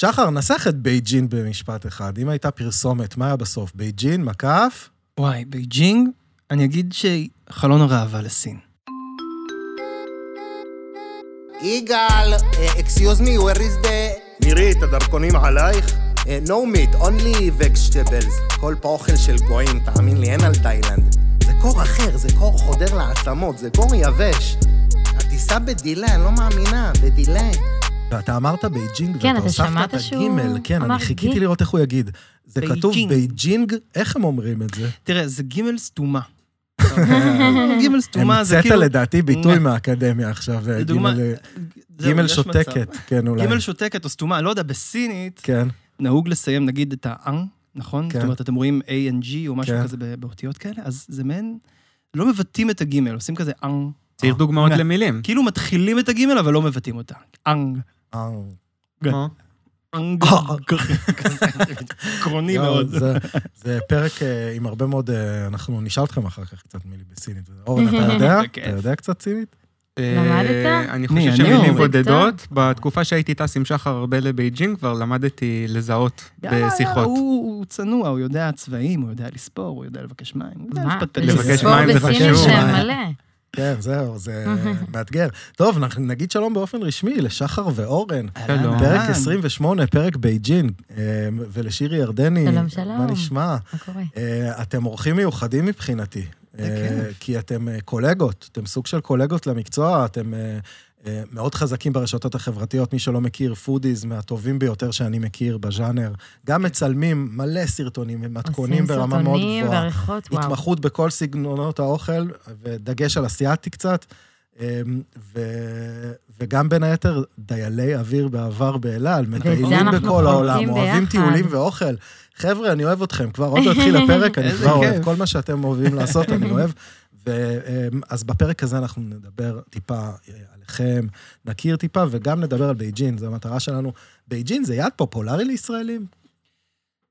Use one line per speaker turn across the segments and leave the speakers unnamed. שחר, נסח את בייג'ין במשפט אחד. אם הייתה פרסומת, מה היה בסוף? בייג'ין, מקף?
וואי, בייג'ינג, אני אגיד שחלון הראווה לסין.
יגאל, אקסיוז מי, where is the...
נירית, הדרכונים עלייך?
אה, No meat, only vegetables. כל פה אוכל של גויים, תאמין לי, אין על תאילנד. זה קור אחר, זה קור חודר לעצמות, זה קור יבש. הטיסה בדיליי, אני לא מאמינה, בדיליי.
ואתה אמרת בייג'ינג,
כן,
ואתה
אתה שמעת
הוספת את
שהוא
הגימל. כן,
אמר
אני חיכיתי
גיל.
לראות איך הוא יגיד. זה כתוב
בייג'ינג.
בייג'ינג, איך הם אומרים את זה?
תראה, זה גימל סתומה.
אוקיי.
גימל סתומה זה
המצאת
כאילו...
לדעתי ביטוי
נה.
מהאקדמיה עכשיו, זה
לדוגמה,
גימל-
זהו,
גימל
יש
שותקת,
מצב.
כן אולי.
גימל שותקת או סתומה, לא יודע, בסינית
כן,
נהוג לסיים נגיד את האנג, נכון?
כן.
זאת אומרת, אתם רואים A&G או משהו
כן.
כזה ב- באותיות כאלה, אז זה מעין... לא מבטאים את הגימל, עושים כזה אנג.
צריך דוגמאות
אה.
למילים.
כאילו מתחילים את הגימל, אבל לא מבטאים אותה. אנג.
אה,
כן.
כמו-
אנג. עקרוני
לא,
מאוד.
זה- זה פרק אה, עם הרבה מאוד, אה, אנחנו נשאל אתכם אחר כך קצת מילי בסינית. אורן, אתה יודע?
בכיף.
אתה יודע קצת סינית?
למדת?
אה, אני
מי,
חושב
אני
שמילים
או-
בודדות. בתקופה שהייתי טס עם שחר הרבה לבייג'ינג, כבר למדתי לזהות
יאללה, יאללה,
בשיחות.
לא, הוא הוא צנוע, הוא יודע צבעים, הוא יודע לספור, הוא יודע לבקש מים, הוא יודע
מה?
לפטפט.
לבקש
לספור
מים זה
בסינית
חשוב.
שם מלא.
כן, זהו, זה מאתגר. טוב, אנחנו נגיד שלום באופן רשמי לשחר ואורן.
שלום.
פרק 28, פרק בייג'ין, אה, ולשירי ירדני.
שלום, שלום.
מה נשמע?
מה קורה?
אה, אתם אורחים מיוחדים מבחינתי. אה,
בכיף.
כי אתם אה, קולגות, אתם סוג של קולגות למקצוע, אתם אה, אה, מאוד חזקים ברשתות החברתיות, מי שלא מכיר, פודיז מהטובים ביותר שאני מכיר בז'אנר. גם מצלמים מלא סרטונים ומתכונים ברמה מאוד
כן. עושים סרטונים
גבוהה.
ועריכות, וואו.
התמחות בכל סגנונות האוכל, ודגש על אסיאתי קצת. אמ, ו... וגם בין היתר דיילי אוויר בעבר באל על, מטיילים
אנחנו
בכל העולם,
חולקים
אוהבים
ביחד.
טיולים ואוכל. חבר'ה, אני אוהב אתכם, כבר עוד לא התחיל הפרק, אני
איזה
כבר אוהב
כיף.
כל מה שאתם אוהבים לעשות, אני אוהב. ו- אמ, אז בפרק הזה אנחנו נדבר טיפה אה, עליכם, נכיר טיפה, וגם נדבר על בייג'ין, זו המטרה שלנו. בייג'ין זה יעד פופולרי לישראלים?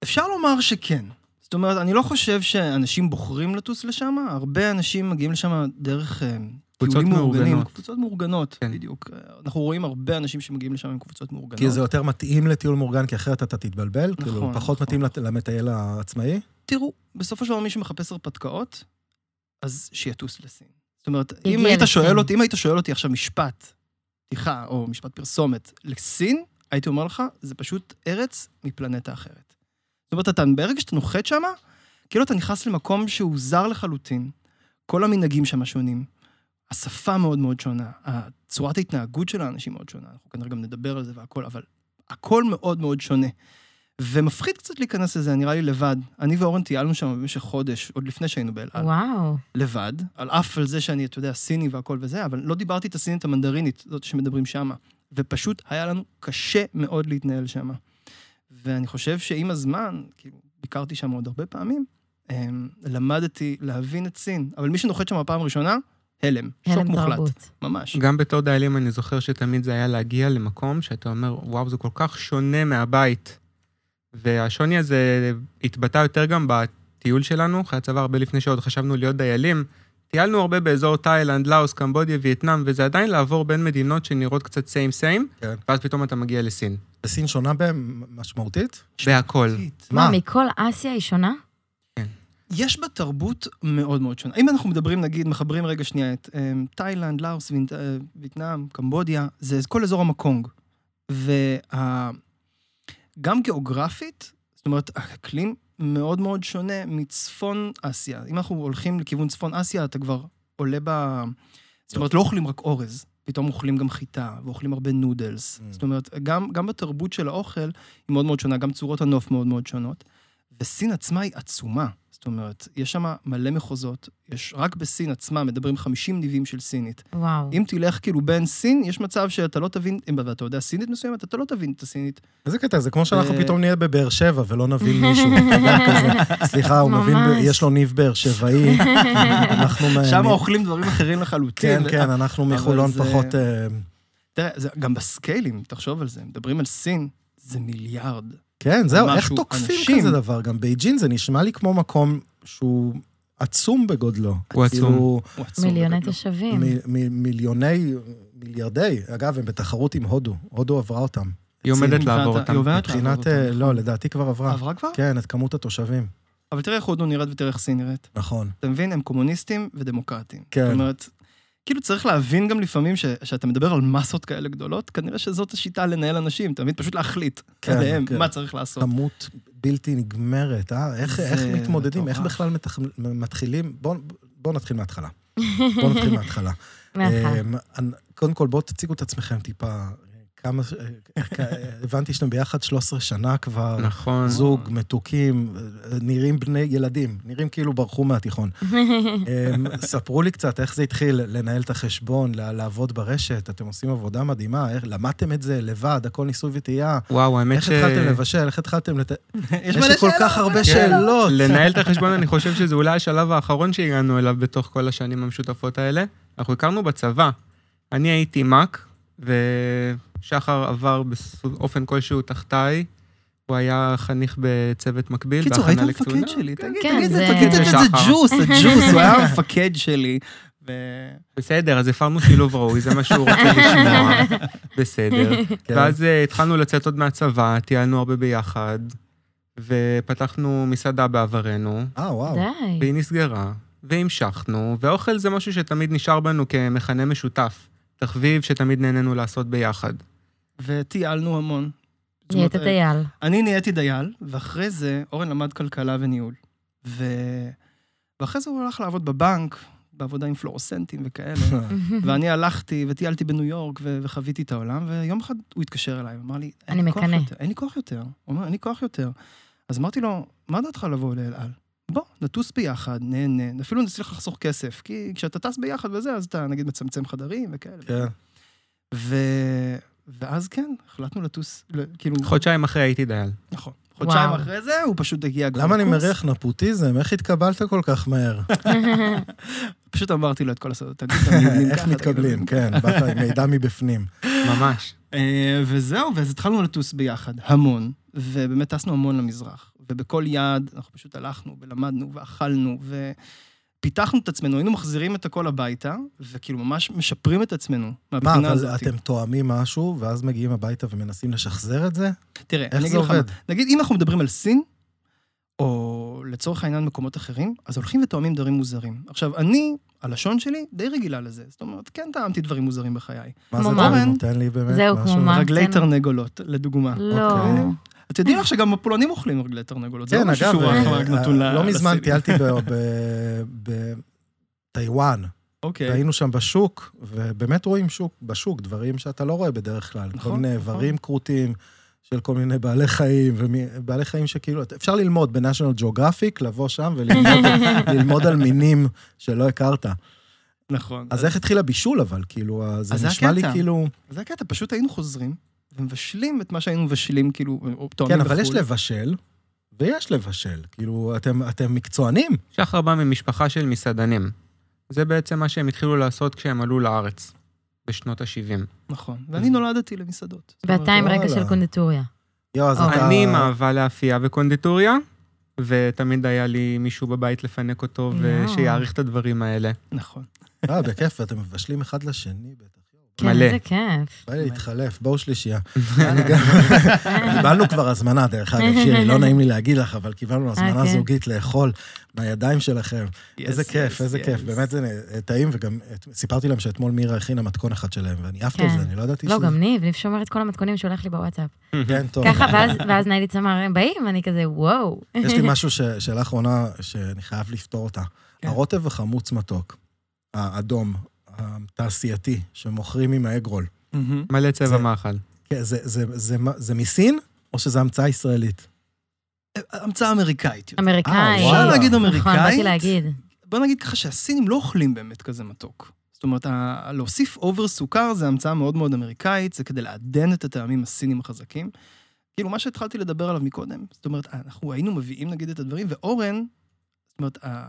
אפשר לומר שכן. זאת אומרת, אני לא חושב שאנשים בוחרים לטוס לשם, הרבה אנשים מגיעים לשם דרך אה,
קבוצות
טיולים מאורגנים,
מאורגנות.
קבוצות מאורגנות,
כן.
בדיוק. אה, אנחנו רואים הרבה אנשים שמגיעים לשם עם קבוצות מאורגנות.
כי זה יותר מתאים לטיול מאורגן, כי אחרת אתה תתבלבל,
נכון,
כאילו, פחות
נכון.
מתאים לת- למטייל העצמאי.
תראו, בסופו של דבר מי שמחפש הרפתקאות, אז שיטוס לסין. זאת אומרת, אם
יגיע
היית,
לסין.
שואל אותי, אם היית שואל אותי עכשיו משפט, פתיחה או משפט פרסומת לסין, הייתי אומר לך, זה פשוט ארץ מפלנטה אחרת. זאת אומרת, אתה, ברגע שאתה נוחת שמה, כאילו אתה נכנס למקום שהוא זר לחלוטין. כל המנהגים שם שונים, השפה מאוד מאוד שונה, צורת ההתנהגות של האנשים מאוד שונה, אנחנו כנראה גם נדבר על זה והכל, אבל הכל מאוד מאוד שונה. ומפחיד קצת להיכנס לזה, נראה לי לבד. אני ואורן טיילנו שם במשך חודש, עוד לפני שהיינו באלעד.
וואו.
לבד, על אף על זה שאני, אתה יודע, סיני והכל וזה, אבל לא דיברתי את הסינית המנדרינית, זאת שמדברים שמה. ופשוט היה לנו קשה מאוד להתנהל שמה. ואני חושב שעם הזמן, כאילו, ביקרתי שם עוד הרבה פעמים, אמ, למדתי להבין את סין. אבל מי שנוחת שם בפעם הראשונה, הלם. שוק
הלם
מוחלט.
תרבות.
ממש.
גם בתור דיילים אני זוכר שתמיד זה היה להגיע למקום שאתה אומר, וואו, זה כל כך שונה מהבית. והשוני הזה התבטא יותר גם בטיול שלנו, אחרי הצבא הרבה לפני שעוד חשבנו להיות דיילים. טיילנו הרבה באזור תאילנד, לאוס, קמבודיה, וייטנאם, וזה עדיין לעבור בין מדינות שנראות קצת סיים סיים,
כן.
ואז פתאום אתה מגיע לסין.
בסין שונה בהם משמעותית?
בהכל.
מה, מכל אסיה היא שונה?
יש בה תרבות מאוד מאוד שונה. אם אנחנו מדברים, נגיד, מחברים רגע שנייה את אמ, תאילנד, לאוס, וינט- אה, וייטנאם, קמבודיה, זה כל אזור המקונג. וגם גיאוגרפית, זאת אומרת, האקלים מאוד מאוד שונה מצפון אסיה. אם אנחנו הולכים לכיוון צפון אסיה, אתה כבר עולה ב... זאת אומרת, לא אוכלים רק אורז, פתאום אוכלים גם חיטה, ואוכלים הרבה נודלס.
Mm.
זאת אומרת, גם, גם בתרבות של האוכל היא מאוד מאוד שונה, גם צורות הנוף מאוד מאוד שונות. וסין עצמה היא עצומה. זאת אומרת, יש שם מלא מחוזות, יש רק בסין עצמה מדברים 50 ניבים של סינית.
וואו.
אם תלך כאילו בין סין, יש מצב שאתה לא תבין, אם אתה יודע סינית מסוימת, אתה לא תבין את הסינית.
איזה קטע, זה כמו שאנחנו
אה,
פתאום נהיה בבאר שבע ולא נבין מישהו. אתה יודע, כזה, סליחה, הוא מבין, ב-
ממש.
יש לו ניב באר שבעי. אנחנו... מ-
שם
מ-
אוכלים דברים אחרים לחלוטין.
אה, כן, כן, אנחנו
אבל
מחולון
זה-
פחות... אה,
תראה, זה- גם בסקיילים, תחשוב על זה, מדברים על סין, זה מיליארד.
כן, זהו, איך
משהו,
תוקפים
אנשים.
כזה דבר? גם בייג'ין זה נשמע לי כמו מקום שהוא עצום בגודלו.
הוא עצום.
כאילו,
הוא עצום
מיליוני
בגדול.
תושבים.
מ- מ- מיליוני, מיליארדי, אגב, הם בתחרות עם הודו, הודו עברה אותם.
היא עומדת
מבחינת
לעבור
ה-
אותם.
היא עוברת לעבור
מבחינת...
אותם.
אה, לא, לדעתי כבר עברה.
עברה כבר?
כן, את כמות התושבים.
אבל תראה איך הודו נראית ותראה איך סין נראית.
נכון.
אתה מבין? הם קומוניסטים ודמוקרטים.
כן.
זאת אומרת, כאילו צריך להבין גם לפעמים ש- שאתה מדבר על מסות כאלה גדולות, כנראה שזאת השיטה לנהל אנשים, אתה מבין? פשוט להחליט
כן,
עליהם
כן.
מה צריך לעשות.
כמות בלתי נגמרת, אה? איך,
זה
איך מתמודדים, איך
מטורף.
בכלל מתח... מתחילים... בואו בוא נתחיל מההתחלה. בואו נתחיל מההתחלה.
מההתחלה.
אמ, אנ- קודם כל, בואו תציגו את עצמכם טיפה. אה, כמה... ש- אה, כ- הבנתי שאתם ביחד 13 שנה כבר.
נכון.
זוג, מתוקים, אה, נראים בני ילדים, נראים כאילו ברחו מהתיכון. אמ, ספרו לי קצת איך זה התחיל לנהל את החשבון, ל- לעבוד ברשת, אתם עושים עבודה מדהימה, איך למדתם את זה לבד, הכל ניסוי וטעייה.
וואו, האמת
איך
ש...
התחלתם לבשל, איך התחלתם לת...
יש כן.
יש לי כל כך הרבה שאלות.
כן, לנהל את החשבון, אני חושב שזה אולי השלב האחרון שהגענו אליו בתוך כל השנים המשותפות האלה. אנחנו הכרנו בצבא. אני הייתי מ"ק, ושחר עבר באופן כלשהו תחתיי. הוא היה חניך בצוות מקביל,
קיצור, היית
כן, בהכנה
המפקד
לקצונה.
שלי, תגיד,
כן,
תגיד,
זה-
תגיד,
זה
זה
שחר.
ג'וס, זה ג'וס, הוא היה המפקד שלי. ו-
בסדר, אז הפרנו שילוב ראוי, זה מה שהוא רוצה לשמוע. בסדר. ואז אה, התחלנו לצאת עוד מהצבא, טיילנו הרבה ביחד, ופתחנו מסעדה בעברנו.
כן.
אה, וואו.
די.
והיא נסגרה, והמשכנו, ואוכל זה משהו שתמיד נשאר בנו כמכנה משותף. תחביב שתמיד נהנינו לעשות ביחד.
וטיילנו המון. זאת
נהיית
אומרת,
דייל.
אני נהייתי דייל, ואחרי זה אורן למד כלכלה וניהול. ו... ואחרי זה הוא הלך לעבוד בבנק, בעבודה עם פלורסנטים וכאלה.
Mm-hmm.
ואני הלכתי וטיילתי בניו יורק ו- וחוויתי את העולם, ויום אחד הוא התקשר אליי, אמר לי, אין
אני
לי כוח
מקנא.
יותר, אין לי כוח יותר. הוא אומר, אין לי כוח יותר. אז אמרתי לו, מה דעתך לבוא לאל על? בוא, נטוס ביחד, נהנה, אפילו נצליח לחסוך כסף, כי כשאתה טס ביחד וזה, אז אתה נגיד מצמצם חדרים וכאלה.
כן.
ו... ואז כן, החלטנו לטוס, ל- כאילו...
חודשיים אחרי הייתי דייל.
נכון. חודשיים
וואו.
אחרי זה, הוא פשוט הגיע כבר
למה אני
לקורס.
מריח נפוטיזם? איך התקבלת כל כך מהר?
פשוט אמרתי לו את כל הסודות. תגיד את המילים
איך
ככה, תגיד את המילים
מתקבלים? כן, באת עם מידע מבפנים.
ממש.
אה, וזהו, ואז התחלנו לטוס ביחד, המון, ובאמת טסנו המון למזרח. ובכל יעד אנחנו פשוט הלכנו ולמדנו ואכלנו ופיתחנו את עצמנו, היינו מחזירים את הכל הביתה, וכאילו ממש משפרים את עצמנו
מה,
מהבחינה
אבל
הזאת.
אתם תואמים משהו, ואז מגיעים הביתה ומנסים לשחזר את זה?
תראה,
איך
אני
זה
אגיד לך, מה.
עובד?
נגיד, אם אנחנו מדברים על סין, או לצורך העניין מקומות אחרים, אז הולכים ותואמים דברים מוזרים. עכשיו, אני, הלשון שלי די רגילה לזה. זאת אומרת, כן טעמתי דברים מוזרים בחיי.
מה זה
כמו
מה?
דברים? תן לי באמת
זהו,
משהו.
כמו מה?
רגלי
כן.
תרנגולות, לדוגמה.
לא.
אוקיי.
אתם יודעים לך שגם הפולנים אוכלים רגלי תרנגולות, זה
כן,
לא משהו
אגב,
שהוא
אה,
רק רק נתון
אה,
ל-
לא מזמן
לסינים.
טיילתי ב- ב- בטיוואן,
אוקיי.
והיינו שם בשוק, ובאמת רואים שוק, בשוק דברים שאתה לא רואה בדרך כלל. כל
נכון,
מיני
נכון.
איברים כרותים של כל מיני בעלי חיים, ובעלי חיים שכאילו, אפשר ללמוד בנשיונל ג'וגרפיק, לבוא שם וללמוד ללמוד על מינים שלא הכרת.
נכון.
אז איך התחיל הבישול אבל? כאילו, ה-
אז
זה
זה
נשמע לי
הקטע.
כאילו...
זה הקטע, פשוט היינו חוזרים ומבשלים את מה שהיינו מבשלים, כאילו, או תואמים
כן, אבל יש
בחו"ל.
לבשל, ויש לבשל. כאילו, אתם- אתם מקצוענים.
שחר בא ממשפחה של מסעדנים. זה בעצם מה שהם התחילו לעשות כשהם עלו לארץ, בשנות ה-70.
נכון. ואני נולדתי למסעדות. זאת אומרת, לא-
ואתה עם רגע
וואלה.
של קונדיטוריה.
יואו, אז
אה.
אתה...
אני עם אהבה לאפייה וקונדיטוריה, ותמיד היה לי מישהו בבית לפנק אותו,
יואו.
ושיעריך את הדברים האלה.
נכון.
אה, בכיף, אתם מבשלים אחד לשני בטח.
כן,
מלא.
איזה כיף.
בא לי להתחלף, בואו שלישייה. אני גם- קיבלנו כבר הזמנה, דרך אגב, שירי, לא נעים לי להגיד לך, אבל קיבלנו הזמנה
כן.
זוגית לאכול מהידיים שלכם. איזה
Yes,
כיף,
yes,
איזה
yes.
כיף, באמת זה נ- טעים, וגם את- סיפרתי להם שאתמול מירה הכינה מתכון אחד שלהם, ואני עפתי על
כן.
זה, אני לא ידעתי
לא,
שזה-
גם ניב, ניב שומר את כל המתכונים שהוא הולך לי בוואטסאפ.
כן, טוב. אה,
ככה, ואז- ואז נייליץ אמר, הם באים, ואני כזה, וואו.
יש לי משהו ש... שאלה אחרונה שאני חייב לפתור אותה.
כן.
הרוטב וחמוץ מתוק, האדום, התעשייתי, שמוכרים עם האגרול,
מהמם.
מלא צבע
זה-
מאכל.
כן, זה, זה, זה, זה, זה מסין או שזה המצאה ישראלית?
המצאה אמריקאית. יותר.
אמריקאי.
אה,
אפשר
וואלה.
להגיד אמריקאית?
נכון, באתי להגיד.
בוא נגיד ככה שהסינים לא אוכלים באמת כזה מתוק. זאת אומרת, ה- להוסיף אובר סוכר זה המצאה מאוד מאוד אמריקאית, זה כדי לעדן את הטעמים הסינים החזקים. כאילו, מה שהתחלתי לדבר עליו מקודם, זאת אומרת, אנחנו היינו מביאים נגיד את הדברים, ואורן, זאת אומרת, ה-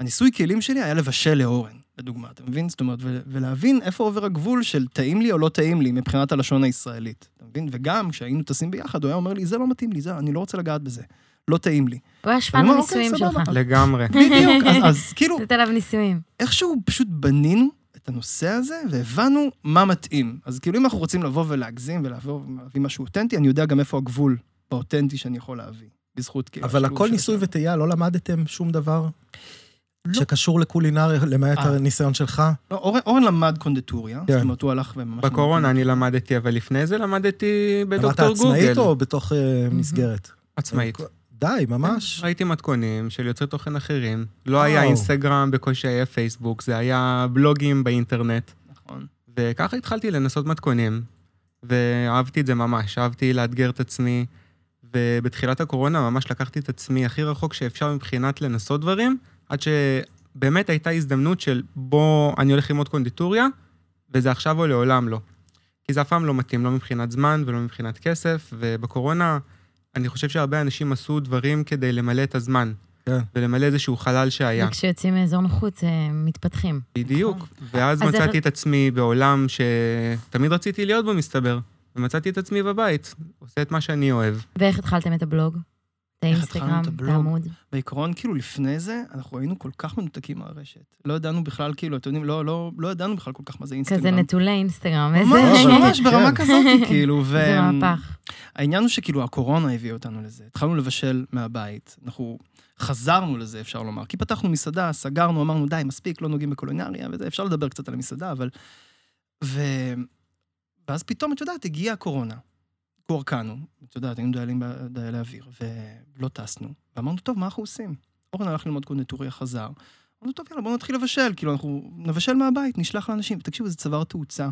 הניסוי כלים שלי היה לבשל לאורן, לדוגמה, אתה מבין? זאת אומרת, ו- ולהבין איפה עובר הגבול של טעים לי או לא טעים לי מבחינת הלשון הישראלית, אתה מבין? וגם כשהיינו טסים ביחד, הוא היה אומר לי, זה לא מתאים לי, זה, אני לא רוצה לגעת בזה, לא טעים לי.
הוא
אני
השפן
אומר,
הנישואים
"אוקיי,
שלך.
סבבה."
לגמרי.
בדיוק, אז, אז כאילו,
עשית עליו נישואים.
איכשהו פשוט בנינו את את הנושא הזה, והבנו מה מתאים. אז כאילו, אם אנחנו רוצים לבוא ולהגזים ולעבור ולהביא משהו אותנטי, אני יודע גם איפה הגבול באותנטי שאני יכול להביא, בזכות כאילו...
אבל
השילוב
הכל
של
ניסוי
השניים.
וטעייה, לא למדתם שום דבר
לא.
שקשור לקולינריה, למעט
אה.
הניסיון שלך?
לא, אורן, אורן למד קונדטוריה,
כן.
זאת אומרת, הוא הלך וממש...
בקורונה אני למדתי, אבל לפני זה למדתי
למדת
בדוקטור גוגל.
עצמאית או אוקיי. בתוך אה, מסגרת?
עצמאית.
די,
כן.
ממש.
ראיתי מתכונים של יוצרי תוכן אחרים. לא
וואו.
היה אינסטגרם, בקושי היה פייסבוק, זה היה בלוגים באינטרנט.
נכון.
וככה התחלתי לנסות מתכונים, ואהבתי את זה ממש, אהבתי לאתגר את עצמי, ובתחילת הקורונה ממש לקחתי את עצמי הכי רחוק שאפשר מבחינת לנסות דברים, עד שבאמת הייתה הזדמנות של בוא, אני הולך ללמוד קונדיטוריה, וזה עכשיו או לעולם לא. כי זה אף פעם לא מתאים, לא מבחינת זמן ולא מבחינת כסף, ובקורונה אני חושב שהרבה אנשים עשו דברים כדי למלא את הזמן.
כן.
ולמלא איזשהו חלל שהיה.
וכשיוצאים מאזור נוחות, אה, מתפתחים.
בדיוק. ואז
אז
מצאתי
איך-
את עצמי בעולם שתמיד רציתי להיות בו, מסתבר. ומצאתי את עצמי בבית, עושה את מה שאני אוהב.
ואיך התחלתם את הבלוג? את
איך
האינסטגרם,
התחלנו את
את
הבלוג?
העמוד?
בעיקרון, כאילו, לפני זה, אנחנו היינו כל כך מנותקים מהרשת. לא ידענו בכלל, כאילו, אתם יודעים, לא, לא, לא ידענו בכלל כל כך מה זה אינסטגרם.
כזה נטולי אינסטגרם,
ממש,
איזה...
אבל-
ממש, ברמה
כן.
כזאת, כאילו, ו...
זה מהפך.
העניין הוא שכאילו הקורונה הביאה אותנו לזה. התחלנו לבשל מהבית. אנחנו חזרנו לזה, אפשר לומר. כי פתחנו מסעדה, סגרנו, אמרנו, די, מספיק, לא נוגעים בקולינריה, וזה, אפשר לדבר קצת על המסעדה, אבל... ו... ואז פתאום, את יודעת, הגיעה הקורונה. קורקענו, את יודעת, היינו דיילים ב- דיילי אוויר, ולא טסנו. ואמרנו, טוב, מה אנחנו עושים? אורן הלך ללמוד קונדטוריה, חזר. אמרנו, טוב, יאללה, בואו נתחיל לבשל. כאילו, אנחנו נבשל מהבית, נשלח לאנשים. תקשיבו, זה צבר תאוצה.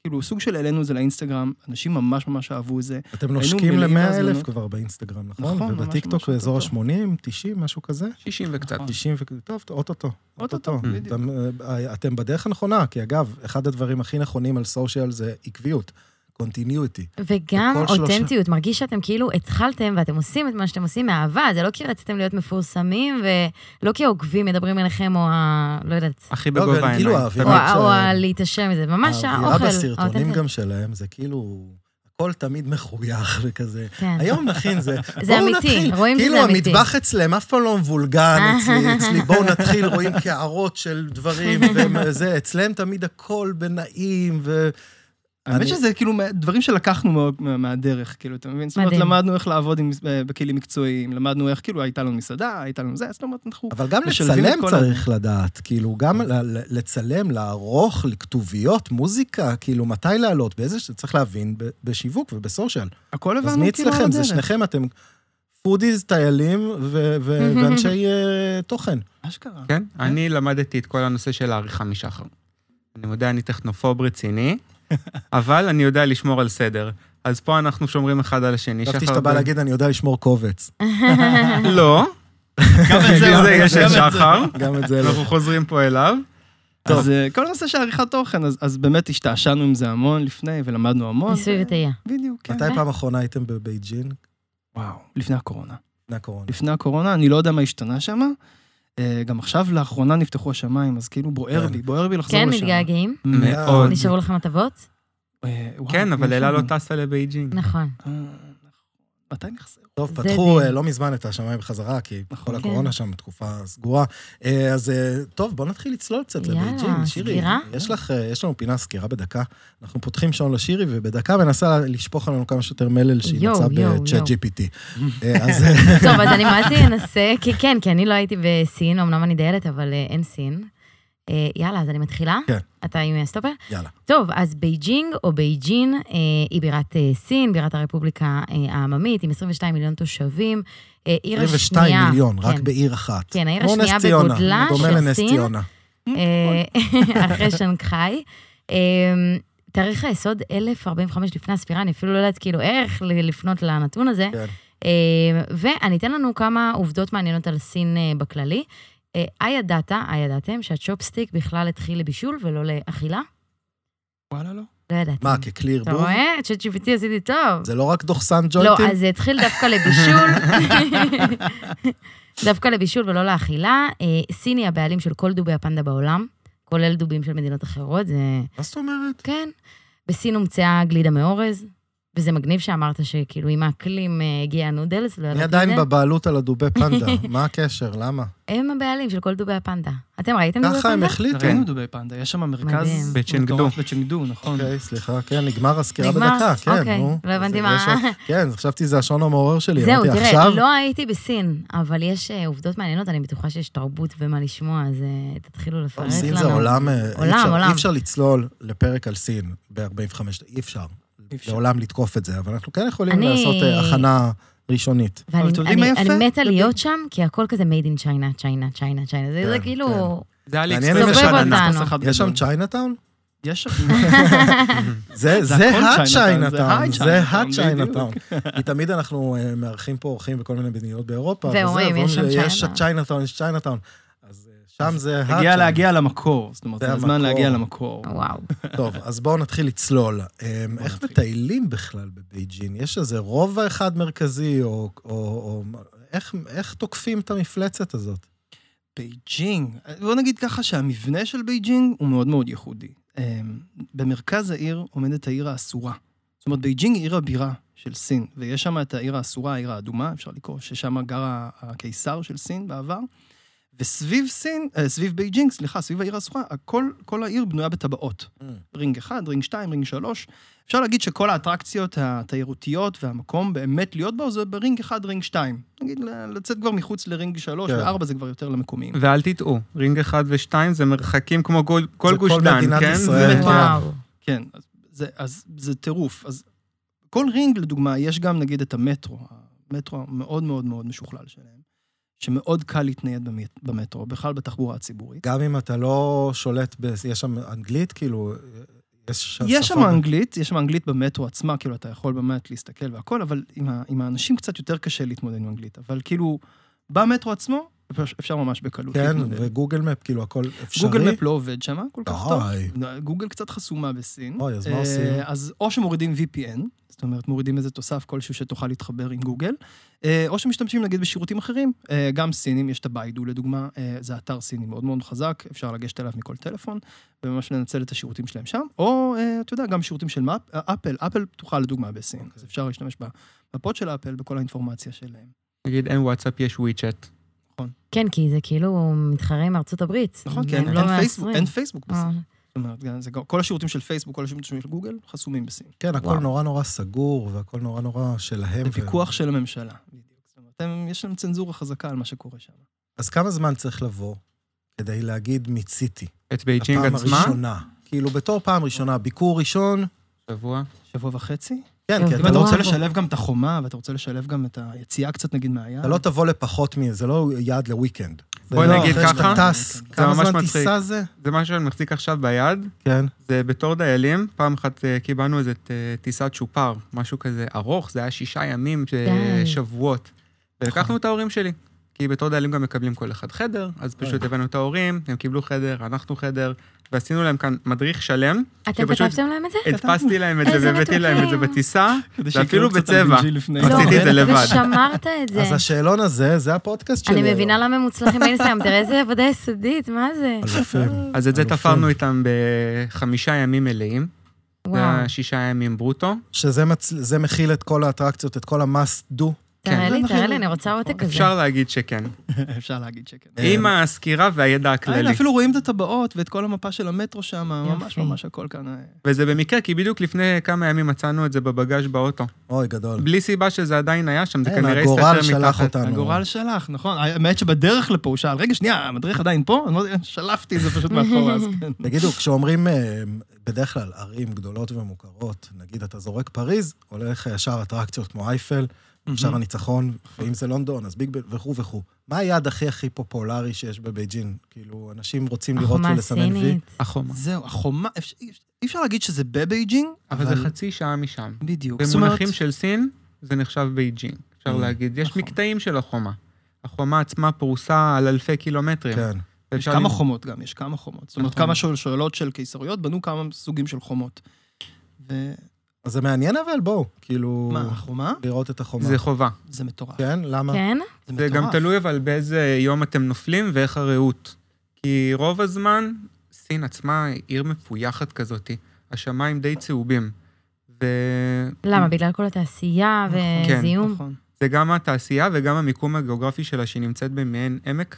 כאילו, סוג של העלינו את זה לאינסטגרם, אנשים ממש ממש אהבו את זה.
אתם נושקים
מלאים
ל-100 אלף
בהזמנות.
כבר באינסטגרם, נכון?
נכון, ממש
ובטיקטוק
ממש
באזור
אותו.
ה-80, 90, משהו כזה?
60 וקצת.
נכון.
90 ו... טוב, אוטוטו.
אוטוטו, בדיוק.
אתם, אה, אתם בדרך הנכונה, כי אגב, אחד הדברים הכי נכונים על סושיאל זה עקביות, קונטיניוטי.
וגם
בכל שלושה-
אותנטיות, מרגיש שאתם כאילו התחלתם ואתם עושים את מה שאתם עושים מאהבה, זה לא כי רציתם להיות מפורסמים ולא כי העוקבים מדברים אליכם, או ה... לא יודעת,
הכי
לא,
בגובה
אבל כאילו
העיניים.
האווירה-
או
תמיד.
באמת,
ה- או
אה,
ה- להתעשר מזה, ממש
האווירה
האוכל.
אה, בסרטונים
האותנטי.
גם שלהם זה כאילו, הכל תמיד מחוייך וכזה.
כן.
היום נכין זה,
זה
בואו
אמיתי,
נתחיל.
רואים שזה
כאילו
אמיתי.
המטבח אצלם אף פעם לא מבולגן אצלי, אצלי בואו נתחיל, רואים קערות של דברים וזה, אצלם תמיד הכל בנעים ו...
האמת
אני-
שזה כאילו מה- דברים שלקחנו מאוד מה- מהדרך, כאילו, אתה מבין? זאת אומרת,
מדהים.
למדנו איך לעבוד עם- אה, בכלים מקצועיים, למדנו איך, כאילו, הייתה לנו מסעדה, הייתה לנו זה, זאת אומרת, אנחנו...
אבל גם
משלבים את
לצלם
כל
צריך לדעת, כאילו, גם ל- ל- לצלם, לערוך, לכתוביות, מוזיקה, כאילו, מתי לעלות, באיזה ש... צריך להבין ב- בשיווק ובסושיאל.
הכל
אז מי
הבנו, כאילו, על
אצלכם? זה
הדרך.
שניכם, אתם פודיז, טיילים ו- ו- ואנשי אה, תוכן.
אשכרה.
כן, אני למדתי את כל הנושא של העריכה משחר. אני מודה, אני טכנופוב רציני, אבל אני יודע לשמור על סדר. אז פה אנחנו שומרים אחד על השני.
חשבתי
שחר
שאתה בא
ב-
להגיד, אני יודע לשמור קובץ.
לא,
גם את
בגלל זה לא,
אמרנו,
יש
גם
את
זה.
שחר,
גם את זה לא.
אנחנו חוזרים פה אליו.
אז אה, כל הנושא של עריכת תוכן, אז- אז באמת השתעשענו עם זה המון לפני, ולמדנו המון.
ניסוי וטעייה.
בדיוק, כן.
מתי פעם אחרונה הייתם בבייג'ין?
וואו, לפני הקורונה.
לפני הקורונה.
לפני הקורונה, אני לא יודע מה השתנה שם. אה, גם עכשיו, לאחרונה נפתחו השמיים, אז כאילו בוער
כן.
בי, בוער בי לחזור
כן,
לשם.
מתגעגעים?
מאוד.
נשארו לכם הטבות?
אה, וואו,
כן, אבל אלה לא
נכון.
טסה לבייג'ינג.
נכון.
אה, נכון. מתי נחזור?
טוב,
זה
פתחו
דין.
אה, לא מזמן את השמיים בחזרה, כי
נכון.
כל
כן.
הקורונה שם תקופה סגורה. אה, אז אה, טוב, בואו נתחיל לצלול קצת
יאללה,
לבייג'ין. שירי,
סגירה?
יש לך, אה, יש לנו פינה סגירה בדקה. אנחנו פותחים שעון לשירי, ובדקה מנסה לשפוך עלינו כמה שיותר מלל שהיא
יואו,
מצאה
יואו,
בצ'אט
יואו.
GPT. אה, אז אה,
טוב, אז אני מה זה אנסה, כי כן, כי אני לא הייתי בסין, אמנם אני דיילת, אבל אה, אין סין. אה, יאללה, אז אני מתחילה?
כן.
אתה עם הסטופר?
יאללה.
טוב, אז בייג'ינג או בייג'ין אה, היא בירת אה, סין, בירת הרפובליקה אה, העממית, עם 22 מיליון תושבים. אה, עיר השנייה...
22 מיליון, רק
כן.
בעיר אחת.
כן, העיר
כמו
השנייה
נס ציונה,
בגודלה
דומה
של
לנס
סין.
ציונה.
אה, אחרי שנגחאי. אה, תאריך היסוד 1045 לפני הספירה, אני אפילו לא יודעת כאילו איך ל- לפנות לנתון הזה.
כן.
אה, ואני אתן לנו כמה עובדות מעניינות על סין אה, בכללי. אה, הידעת, הידעתם שהצ'ופסטיק בכלל התחיל לבישול ולא לאכילה?
וואלה, לא.
לא ידעתי.
מה, ככלי
אתה
ערבוב?
רואה? ChatGPT עשיתי טוב.
זה לא רק דוחסן
לא,
ג'וינטים?
אז זה התחיל דווקא לבישול. דווקא לבישול ולא לאכילה. אה, סין היא הבעלים של כל דובי הפנדה בעולם, כולל דובים של מדינות אחרות, זה...
מה זאת אומרת?
כן. בסין הומצאה גלידה מאורז, וזה מגניב שאמרת שכאילו עם האקלים אה, הגיע הנודלס, לא
אני
ידעתי את זה.
עדיין בבעלות על הדובי פנדה, מה הקשר? למה?
הם הבעלים של כל דובי הפנדה. אתם ראיתם דובי
ככה הם
פנדה?
החליטו.
ראינו דובי פנדה, יש שם מרכז
מדהים.
בצ'נגדו.
מטורף בצ'נגדו, נכון.
אוקיי, סליחה, כן, נגמר הסקירה
נגמר?
בדקה, כן,
אוקיי,
נו.
לא הבנתי
זה-
מה-
יש עוד- כן, חשבתי זה השעון המעורר שלי.
זהו,
אמרתי,
תראה,
עכשיו-
לא הייתי בסין, אבל יש אה, עובדות מעניינות, אני בטוחה שיש תרבות ומה לשמוע, אז אה, תתחילו לפרט לנו.
סין זה עולם, אה, אי
עולם,
אפשר-
עולם.
אי אפשר לצלול לפרק על סין ב-45, אי אפשר.
אי אפשר.
לעולם לתקוף את זה, אבל אנחנו כן יכולים
אני-
לעשות אה, הכנה ראשונית.
אבל אתם
ואני
יודעים מה
אני-
יפה?
אני מתה להיות שם, כי הכל כזה made in China, China, China, China. זה זה
כן,
כאילו...
זה היה לי
מעניין
אקספרס
אם יש
של
עוד
ענק.
אותנו.
פס אחד
יש שם
גדול.
צ'יינאטאון?
יש שם...
זה
זה
זה
הכל צ'יינה-טאון, זה
הצ'יינאטאון, זה
ה-צ'יינה-טאון,
הצ'יינאטאון. כי תמיד אנחנו אה, מארחים פה אורחים בכל מיני מדינות באירופה, וזה,
ואומרים,
ואומרים,
יש שם
יש
צ'יינה-טאון."
צ'יינאטאון, יש צ'יינאטאון. אז אה, שם זה
הגיע
הצ'יינאטאון.
להגיע למקור, זאת אומרת,
זה
זה הזמן
המקור.
להגיע למקור.
כן.
וואו.
טוב, אז בואו נתחיל לצלול. אה, איך
נתחיל.
מטיילים בכלל בבייג'ין? יש איזה רובע אחד מרכזי, או... או- או- איך- איך תוקפים את המפלצת הזאת?
בייג'ינג, בוא נגיד ככה שהמבנה של בייג'ינג הוא מאוד מאוד ייחודי. אמ, במרכז העיר עומדת העיר האסורה. זאת אומרת, בייג'ינג היא עיר הבירה של סין, ויש שם את העיר האסורה, העיר האדומה, אפשר לקרוא, ששם גר ה- הקיסר של סין בעבר. וסביב סין, אה, סביב בייג'ינג, סליחה, סביב העיר האסורה, הכל, כל העיר בנויה בטבעות. רינג 1, רינג 2, רינג 3. אפשר להגיד שכל האטרקציות התיירותיות והמקום באמת להיות בו זה ברינג 1, רינג 2. נגיד, ל- לצאת כבר מחוץ לרינג 3
כן.
ו-4 זה כבר יותר למקומיים.
ואל תטעו, רינג 1 ו-2 זה מרחקים כמו כל- כל
זה
גוש
כל
דן,
מדינת
כן?
ישראל.
זה מטורף.
וואו.
כן, אז זה, אז זה טירוף. אז כל רינג, לדוגמה, יש גם נגיד את המטרו, המטרו המאוד מאוד מאוד משוכלל שלהם, שמאוד קל להתנייד במט- במטרו, בכלל בתחבורה הציבורית.
גם אם אתה לא שולט ב... יש שם אנגלית, כאילו... יש שם
יש
שפה-
שם אנגלית, יש שם אנגלית במטרו עצמה, כאילו אתה יכול באמת להסתכל והכל, אבל עם, ה, עם האנשים קצת יותר קשה להתמודד עם אנגלית. אבל כאילו, במטרו עצמו, אפשר- אפשר ממש בקלות
כן,
להתמודד.
וגוגל מפ, כאילו, הכל אפשרי.
גוגל מפ לא עובד שם כל כך טוב.
די.
גוגל קצת חסומה בסין.
אוי, אז מה
אה,
עושים?
אז או שמורידים VPN, זאת אומרת, מורידים איזה תוסף כלשהו שתוכל להתחבר עם גוגל, אה, או שמשתמשים נגיד בשירותים אחרים. אה, גם סינים, יש את הביידו לדוגמה, אה, זה אתר סיני מאוד מאוד חזק, אפשר לגשת אליו מכל טלפון, וממש לנצל את השירותים שלהם שם, או, אה, אתה יודע, גם שירותים של אה, מאפ- אפל, אפל פתוחה לדוגמה בסין, אז אפשר להשתמש במפות של אפל, בכל האינפורמציה שלהם.
נגיד אין וואטסאפ, יש וויצ'אט.
כן, כי זה כאילו מתחרה עם ארצות הברית.
נכון, כי
הם
אין
לא
אין פייסבוק,
מעשרים.
אין פייסבוק בסין.
אה,
זאת אומרת, גם- זה גם- כל השירותים של פייסבוק, כל השירותים של גוגל, חסומים בסין.
כן, הכל
וואו.
נורא נורא סגור, והכל נורא נורא שלהם.
זה
ו-
פיקוח של הממשלה. בדיוק. זאת אומרת, הם- יש להם צנזורה חזקה על מה שקורה שם.
אז כמה זמן צריך לבוא כדי להגיד מיציתי?
את בייג'ינג
הפעם
עצמה,
הראשונה. כאילו, בתור פעם ראשונה, ביקור ראשון,
שבוע.
שבוע וחצי?
כן,
כן,
כי אתה
אם אתה
לא
וואו.
רוצה
צריך...
לשלב גם את החומה, ואתה רוצה לשלב גם את היציאה קצת, נגיד, מהיעד.
אתה לא תבוא לפחות מ... זה לא יעד לוויקנד.
בואי
זה לא,
נגיד
אחרי שאתה
ככה,
טס,
זה
כמה
ממש
זמן
מצחיק.
טיסה זה?
זה מה שאני מחזיק עכשיו ביד,
כן.
זה בתור דיילים, פעם אחת אה, קיבלנו איזה אה, טיסת שופר, משהו כזה ארוך, זה היה שישה ימים, ש-
די.
שבועות. ולקחנו את ההורים שלי, כי בתור דיילים גם מקבלים כל אחד חדר, אז פשוט הבאנו את ההורים, הם קיבלו חדר, אנחנו חדר, ועשינו להם כאן מדריך שלם,
אתם
שפשוט-
כתבתם להם את זה?
הדפסתי להם את זה
איזה
והבאתי להם את זה
מתוקים.
בטיסה,
כדי שיקראו
ואפילו
קצת
בצבע.
LBG לפני.
לא. עשיתי את זה לבד.
ושמרת את זה.
אז השאלון הזה, זה הפודקאסט שלי.
אני מבינה
היום.
למה הם מוצלחים באינסטגרם, תראה איזה עבודה יסודית, מה זה?
אלופים.
אז את זה
אלופים.
תפרנו איתם בחמישה ימים מלאים, זה
וואו,
היה שישה ימים ברוטו.
שזה מצ... זה מכיל את כל האטרקציות, את כל ה-must do.
תראה
כן.
לי, תראה לי, אני רוצה
נכון,
עותק כזה.
אפשר להגיד שכן,
אפשר להגיד שכן.
עם הסקירה והידע הכללי.
הנה, אה, אפילו רואים את הטבעות ואת כל המפה של המטרו שם, ממש
יופי.
ממש הכל כאן. אה,
וזה במקרה, כי בדיוק לפני כמה ימים מצאנו את זה בבגאז' באוטו.
אוי, גדול.
בלי סיבה שזה עדיין היה שם, זה
אה,
כן,
כנראה
הגורל
הסתתר
שלח
מתחת.
אותנו.
הגורל שלח, נכון. האמת שבדרך לפה הוא שאל, רגע, שנייה, המדריך עדיין פה? אני לא יודע, שלפתי את זה פשוט מאחורה, אז כן.
תגידו, כשאומרים אה, בדרך כלל ערים גדולות ומוכרות, נגיד אתה זורק פריז, הולך ישר אטרקציות כמו אייפל, עכשיו הניצחון, ואם זה לונדון, אז ביג בל וכו' וכו'. מה היעד הכי הכי פופולרי שיש בבייג'ין? כאילו, אנשים רוצים לראות
החומה
ולסמן וי.
הסינית.
החומה.
זהו, החומה, אפשר- אי אפשר להגיד שזה בבייג'ינג,
אבל זה חצי שעה משם.
בדיוק. זאת אומרת-
במונחים של סין, זה נחשב בייג'ינג, אפשר
Mm.
להגיד. יש
נכון.
מקטעים של החומה. החומה עצמה פרוסה על אלפי קילומטרים.
כן.
יש
ואפשר
כמה
למצוא-
חומות גם, יש כמה חומות. זאת אומרת,
נכון.
כמה שואל- שואלות של קיסריות, בנו כמה סוגים של חומות. ומה,
אז זה מעניין, אבל בואו, כאילו,
החומה?
לראות את החומה.
זה חובה.
זה מטורף.
כן? למה?
כן?
זה
זה גם
מטורף.
תלוי אבל באיזה יום אתם נופלים ואיך הרעות. כי רוב הזמן, סין עצמה היא עיר מפויחת כזאתי. השמיים די צהובים. וזה
למה? בגלל כל התעשייה
כן,
וזיהום?
נכון.
גם התעשייה וגם המיקום הגיאוגרפי שלה, שהיא נמצאת במעין עמק,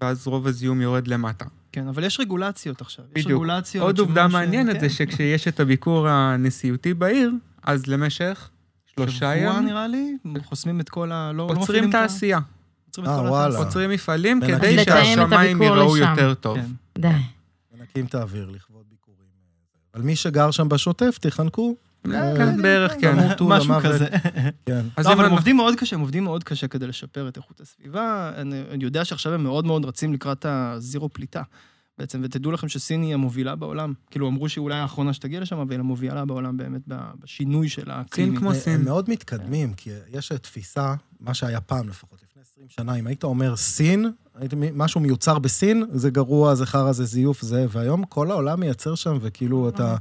ואז רוב הזיהום יורד למטה.
כן, אבל יש רגולציות עכשיו. יש
בדיוק.
רגולציות.
עוד
שאומרות
עובדה
ש-
מעניינת
כן.
זה שכשיש את הביקור הנשיאותי בעיר, אז למשך שלושה
שבוע
ימים
נראה לי, חוסמים את כל ה... לא- לא מפעילים
עוצרים
את ה-
תעשייה,
עוצרים את
אה,
כל
וואלה.
התעשייה.
עוצרים מפעלים
בינתיים.
כדי
לתאם את
שהשמיים
הביקור
יראו
לשם.
יותר טוב.
כן.
די.
מנקים את האוויר לכבוד ביקורים. אבל מי שגר שם בשוטף, תחנקו.
כן, כן, בערך כן.
לא,
ימותו
משהו
למוות.
כזה.
כן.
אז
לא, אבל
אם
הם
אנחנו-
עובדים מאוד קשה, הם עובדים מאוד קשה כדי לשפר את איכות הסביבה. אני אני יודע שעכשיו הם מאוד מאוד רצים לקראת הזירו פליטה. בעצם, ותדעו לכם שסין היא המובילה בעולם. כאילו, אמרו שהיא אולי האחרונה שתגיע לשם, אבל היא המובילה בעולם באמת ב- בשינוי של האקלים.
סין כמו
הם
סין.
מאוד מתקדמים, כי יש תפיסה, מה שהיה פעם לפחות, לפני 20 שנה, אם היית אומר סין, היית, מ- משהו מיוצר בסין, זה גרוע, זה חרא, זה זיוף, זה, והיום כל העולם מייצר שם, וכאילו את ה...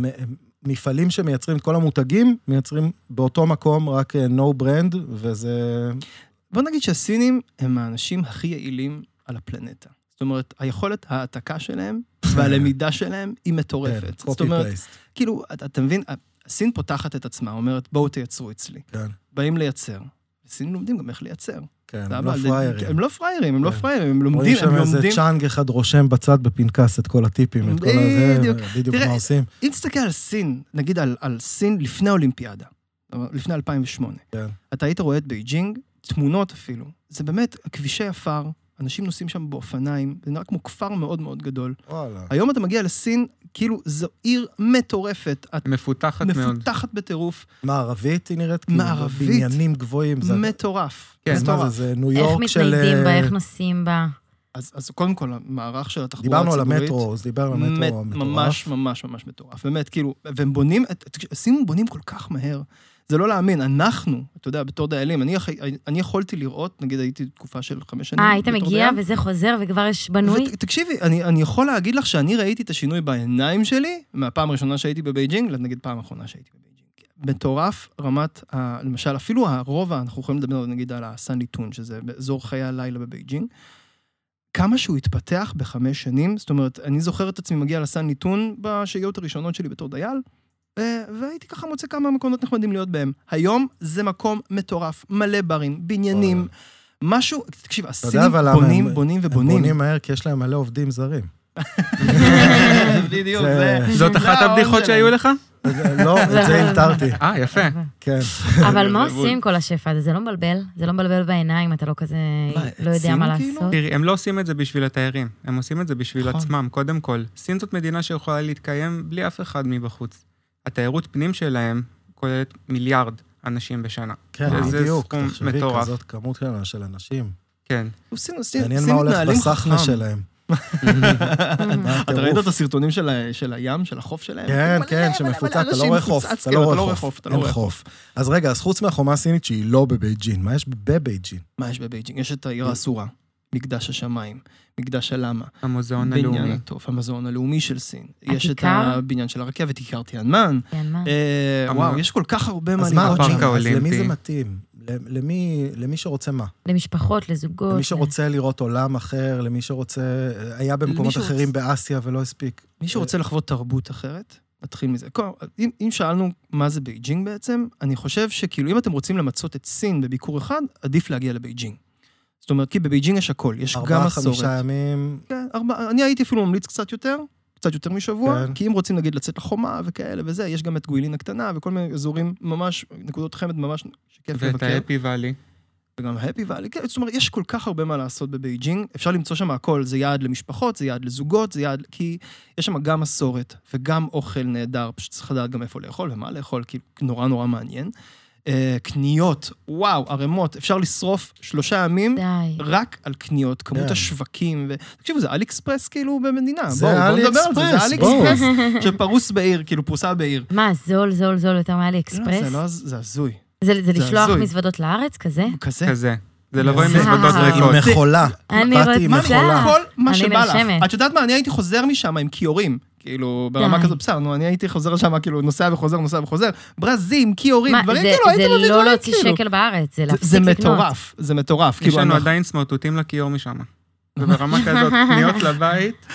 מ- מפעלים שמייצרים את כל המותגים, מייצרים באותו מקום רק אה, no brand, וזה... כן,
בוא נגיד שהסינים הם האנשים הכי יעילים על הפלנטה. זאת אומרת, היכולת ההעתקה שלהם והלמידה שלהם היא מטורפת.
כן,
copy
זאת אומרת,
paste.
כאילו, אתה אתה מבין, סין פותחת את עצמה, אומרת, בואו תייצרו אצלי.
כן.
באים לייצר. סין לומדים גם איך לייצר.
כן, הם
סבבה?
לא
זה-
פראיירים.
הם לא פראיירים, הם לא
כן.
פראיירים, הם
רואים
לומדים,
שם
הם
איזה
לומדים.
צ'אנג אחד רושם בצד בפנקס את כל הטיפים, את כל הזה,
בדיוק.
בדיוק
תראה, אה,
מה עושים.
אם תסתכל על סין, נגיד על, על סין לפני האולימפיאדה, כלומר, לפני 2008,
כן.
אתה היית רואה את בייג'ינג, תמונות אפילו, זה באמת כבישי עפר, אנשים נוסעים שם באופניים, זה נראה כמו כפר מאוד מאוד גדול.
וואלה.
היום אתה מגיע לסין, כאילו זו עיר מטורפת, את
מפותחת מאוד.
מפותחת בטירוף,
מערבית היא נראית? כאילו,
מערבית.
בניינים גבוהים. זה-
מטורף.
כן,
אז מה
מטורף.
זה, זה ניו
איך
יורק של...
מתניידים בה,
אה,
איך נוסעים בה?
אז, אז קודם כל, המערך של התחבורה
דיברנו על
הציבורית...
המטרו, אז דיברנו על המטרו
מת-
המטורף.
ממש ממש ממש מטורף, באמת, כאילו, והם בונים, את- את- שימו בונים כל כך מהר. זה לא להאמין, אנחנו, אתה יודע, בתור דיילים, אני, אחי- אני יכולתי לראות, נגיד הייתי תקופה של חמש שנים
אה, היית
בתור
מגיע
דייל,
וזה חוזר וכבר יש בנוי?
ות- תקשיבי, אני, אני יכול להגיד לך שאני ראיתי את השינוי בעיניים שלי מהפעם הראשונה שהייתי בבייג'ינג, נגיד פעם האחרונה שהייתי בבייג'ינג. מטורף רמת, ה, למשל, אפילו הרובע, אנחנו יכולים לדבר נגיד על הסנליטון, שזה אזור חיי הלילה בבייג'ינג. כמה שהוא התפתח בחמש שנים, זאת אומרת, אני זוכר את עצמי מגיע לסנליטון בשהיות הראשונות שלי בתור דייל, ו- והייתי ככה מוצא כמה מקומות נחמדים להיות בהם. היום זה מקום מטורף, מלא ברים, בניינים, משהו, תקשיב, הסינים
אבל למה
בונים,
הם-
בונים
הם
ובונים.
בונים מהר כי יש להם מלא עובדים זרים.
בדיוק,
זה-
זה...
זאת אחת
האור
הבדיחות
שלהם.
שהיו לך?
לא, את זה המטרתי,
אה, יפה.
כן.
אבל מה
זה
עושים כל השפע הזה? זה לא מבלבל? זה לא מבלבל בעיניים, אתה לא כזה...
מה,
לא יודע
עצים
מה
כאילו?
לעשות?
תראי, הם לא עושים את זה בשביל התיירים, הם עושים את זה בשביל
נכון.
עצמם, קודם כל. סין זאת מדינה שיכולה להתקיים בלי אף אחד מבחוץ. התיירות פנים שלהם כוללת מיליארד אנשים בשנה.
כן,
וזה
בדיוק.
סכום
תחשבי,
מטורף.
כזאת כמות כאלה של אנשים.
כן.
סין, סין,
מעניין
סין
מה הולך
מתנהלים
בסחנה
חכם.
שלהם. מה
אה, אתה ראית
הטירוף?
את הסרטונים של ה- של הים, של החוף שלהם?
כן,
מלא,
כן,
מלא,
שמפוצץ,
מלא
אתה לא
אנשים
רואה חוף,
מפוצץ,
אתה
כן,
לא רואה חוף,
אתה לא
אין
רואה חוף.
חוף. אז רגע, אז חוץ מהחומה הסינית שהיא לא בבייג'ין, מה יש בבייג'ין?
מה יש בבייג'ינג? יש את העיר האסורה, מקדש השמיים, מקדש הלמה,
המוזיאון
בניין
הלאומי.
הטוב, המזון הלאומי של סין. יש את
הכיכר?
הבניין של הרכבת, כיכר תיאנמן.
כן, מה?
אה,
המון.
וואו, יש כל כך הרבה מה
אז מה
לראות
עוד
הפארק
שם.
שם? אז
האולימפי.
למי זה מתאים? ל- למי למי שרוצה מה?
למשפחות, לזוגות.
למי שרוצה לראות עולם אחר, למי שרוצה... היה במקומות
שרוצ-
אחרים באסיה ולא הספיק.
מי שרוצה לחוות תרבות אחרת, נתחיל מזה. קודם, אם, אם שאלנו מה זה בייג'ינג בעצם, אני חושב שכאילו אם אתם רוצים למצות את סין בביקור אחד, עדיף להגיע לבייג'ינג. זאת אומרת, כי בבייג'ינג יש הכל, יש גם
ארבעה,
מסורת.
חמישה ימים,
כן, ארבע, אני הייתי אפילו ממליץ קצת יותר, קצת יותר משבוע,
כן.
כי אם רוצים נגיד לצאת לחומה וכאלה וזה, יש גם את גוילין הקטנה וכל מיני אזורים ממש, נקודות חמד ממש שכיף
ואת
לבקר.
האפי ואלי.
וגם ההפי ואלי, כן, זאת אומרת, יש כל כך הרבה מה לעשות בבייג'ינג, אפשר למצוא שם הכל, זה יעד למשפחות, זה יעד לזוגות, זה יעד, כי יש שם גם מסורת וגם אוכל נהדר, פשוט צריך לדעת גם איפה לאכול ומה לאכול, כאילו, נורא נורא מעניין. אה, קניות, וואו, ערימות, אפשר לשרוף שלושה ימים
די.
רק על קניות, כמות
כן.
השווקים, ו... תקשיבו, זה אלי אקספרס כאילו במדינה,
זה
בואו, בואו נדבר על זה, זה אלי
AliExpress, בואו.
אקספרס שפרוס בעיר, כאילו, פרוסה בעיר.
מה, זול, זול, זול יותר מאלי
לא, זה
אקספרס?
לא, הז- זה הזוי.
זה זה לשלוח
הזוי.
מזוודות לארץ כזה?
כזה.
כן.
כזה. זה לבוא עם
זה-
מזוודות
אה.
עם
ריקות.
מכולה.
אני
באתי עם
רוצה.
מכולה.
כל מה
אה, אני
שבא לך.
נרשמת.
את יודעת מה, אני הייתי חוזר משם עם כיורים. כאילו, ברמה
די.
כזאת, בסדר, נו, אני הייתי חוזר שם, כאילו, נוסע וחוזר, נוסע וחוזר, ברזים, כיורים,
מה,
דברים,
זה-
כאילו, הייתי
זה
מביא
לא
דברים,
להוציא
כאילו.
שקל בארץ, זה
זה-
להפסיק
זה
לקנות.
מטורף, זה מטורף.
יש
כאילו,
לנו
אנחנו-
עדיין סמרטוטים לכיור משם. וברמה כזאת, קניות לבית,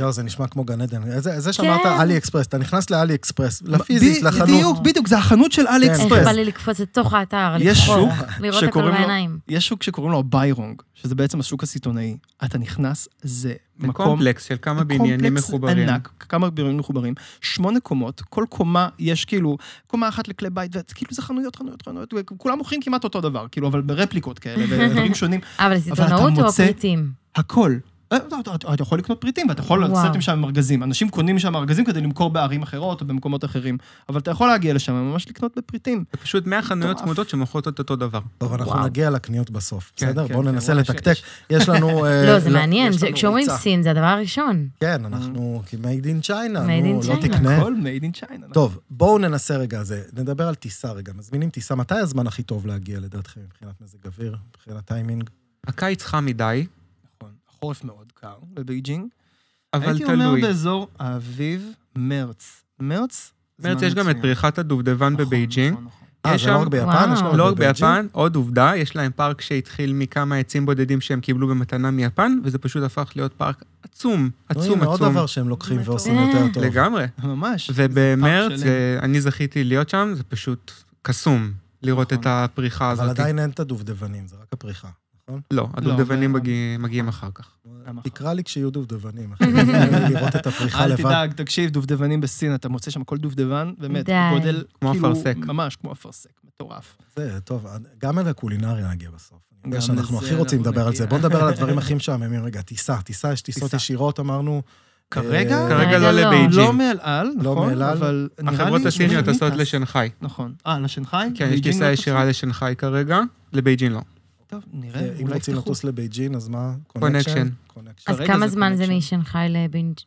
יואו, זה נשמע כמו גן עדן. זה, זה שאמרת
כן.
אלי אקספרס, אתה נכנס לאלי אקספרס, לפיזית,
ב-
לחנות.
בדיוק, בדיוק, זה החנות של אלי
כן.
איך
אקספרס.
בא לי לקפוץ לתוך האתר,
יש
לבחור,
שוק
לראות הכל
שקוראים לו-
בעיניים.
יש שוק שקוראים לו הביירונג, שזה בעצם השוק הסיטונאי. אתה נכנס, זה מקום...
קומפלקס של כמה
זה
בניינים
קומפלקס
מחוברים.
ענק, כמה בניינים מחוברים. שמונה קומות, כל קומה יש כאילו, קומה אחת לכלי בית, וכאילו זה חנויות, חנויות, חנויות, וכולם מוכרים כמעט אותו דבר, כאילו, אבל ברפליקות כאלה, ודברים שונים.
אבל סיטונאות או
מוצא-
פריטים?
הכל. אה, אתה, אתה, אתה יכול לקנות פריטים, ואתה יכול
וואו.
לצאת עם שם ארגזים. אנשים קונים שם ארגזים כדי למכור בערים אחרות או במקומות אחרים, אבל אתה יכול להגיע לשם וממש לקנות בפריטים.
זה פשוט 100 חנויות
מטורף.
צמודות שמוכרות את אותו דבר.
טוב, אנחנו
וואו.
נגיע לקניות בסוף,
כן,
בסדר?
כן,
בואו
כן,
ננסה
וואי, ש-
לתקתק. יש לנו... אה,
לא, זה
לא,
מעניין,
יש
זה-
לנו
כשאומרים
ריצה.
סין זה הדבר הראשון.
כן, אנחנו כי made in China,
Made
נו,
in
לא
China.
אה.
תקנה.
הכל made in China. נכון.
טוב, בואו ננסה רגע על זה. נדבר על טיסה רגע. מזמינים טיסה, מתי הזמן הכי טוב להגיע לדעתכם מבחינת מזג אוויר, מבחינת טיימינג?
הקיץ חם מדי,
נכון. החורף מאוד קר בבייג'ינג.
אבל
הייתי אומר
תלוי.
באזור האביב, מרץ. מרץ? זמן
מרץ יש גם את
מצוין.
פריחת הדובדבן
נכון,
בבייג'ינג.
נכון, נכון.
אה,
יש
זה לא
שם-
רק ביפן, יש
וואו.
לא
גם
רק
בבייג'ינג?
ביפן, עוד עובדה, יש להם פארק שהתחיל מכמה עצים בודדים שהם קיבלו במתנה מיפן, וזה פשוט הפך להיות פארק עצום,
נו,
עצום,
לא, הנה, עוד
עצום.
דבר שהם לוקחים
באמת
ועושים
טוב.
יותר טוב.
לגמרי.
ממש. זה פארק
ובמרץ,
שלם.
אה, אני זכיתי להיות שם, זה פשוט קסום, לראות
נכון.
את הפריחה
אבל
הזאת.
עדיין אין את הדובדבנים, זה רק הפריחה. נכון?
לא, הדובדבנים
ו-
מגיע- מגיעים אחר כך.
למה?
תקרא לי כשיהיו דובדבנים, אחי. אני לראות את הפריחה
נכון. אל
לבד.
תדאג, תקשיב, דובדבנים בסין, אתה מוצא שם כל דובדבן, באמת,
די.
בגודל,
כמו
כאילו,
אפרסק. אה,
ממש כמו אפרסק, מטורף.
זה טוב, גם אל הקולינריה נגיע בסוף. אני יודע
גם
שאנחנו
לזה
הכי רוצים
אנחנו
לדבר על זה.
נגיע.
בואו נדבר על הדברים הכי משעממים רגע. טיסה, טיסה, יש טיסות
טיסה.
ישירות, אמרנו.
כרגע?
אה,
כרגע לא
לא.
לא
לבייג'ינג.
מאל על,
לא
נכון,
מאל על.
אבל נראה לי...
החברות הסיניות
שמי
טסות
טס.
לשנגחאי.
נכון. אה, לשנגחאי?
כן, יש
בייג'ינג
טיסה
לא
ישירה
טסו?
לשנגחאי כרגע, לבייג'ין לא.
טוב, נראה,
אה, אם
אולי
רוצים
יפתחו.
לטוס לבייג'ין, אז מה?
Connection.
קונקשן.
אז
כרגע
כמה
זה
זמן זה
connection.
משנגחאי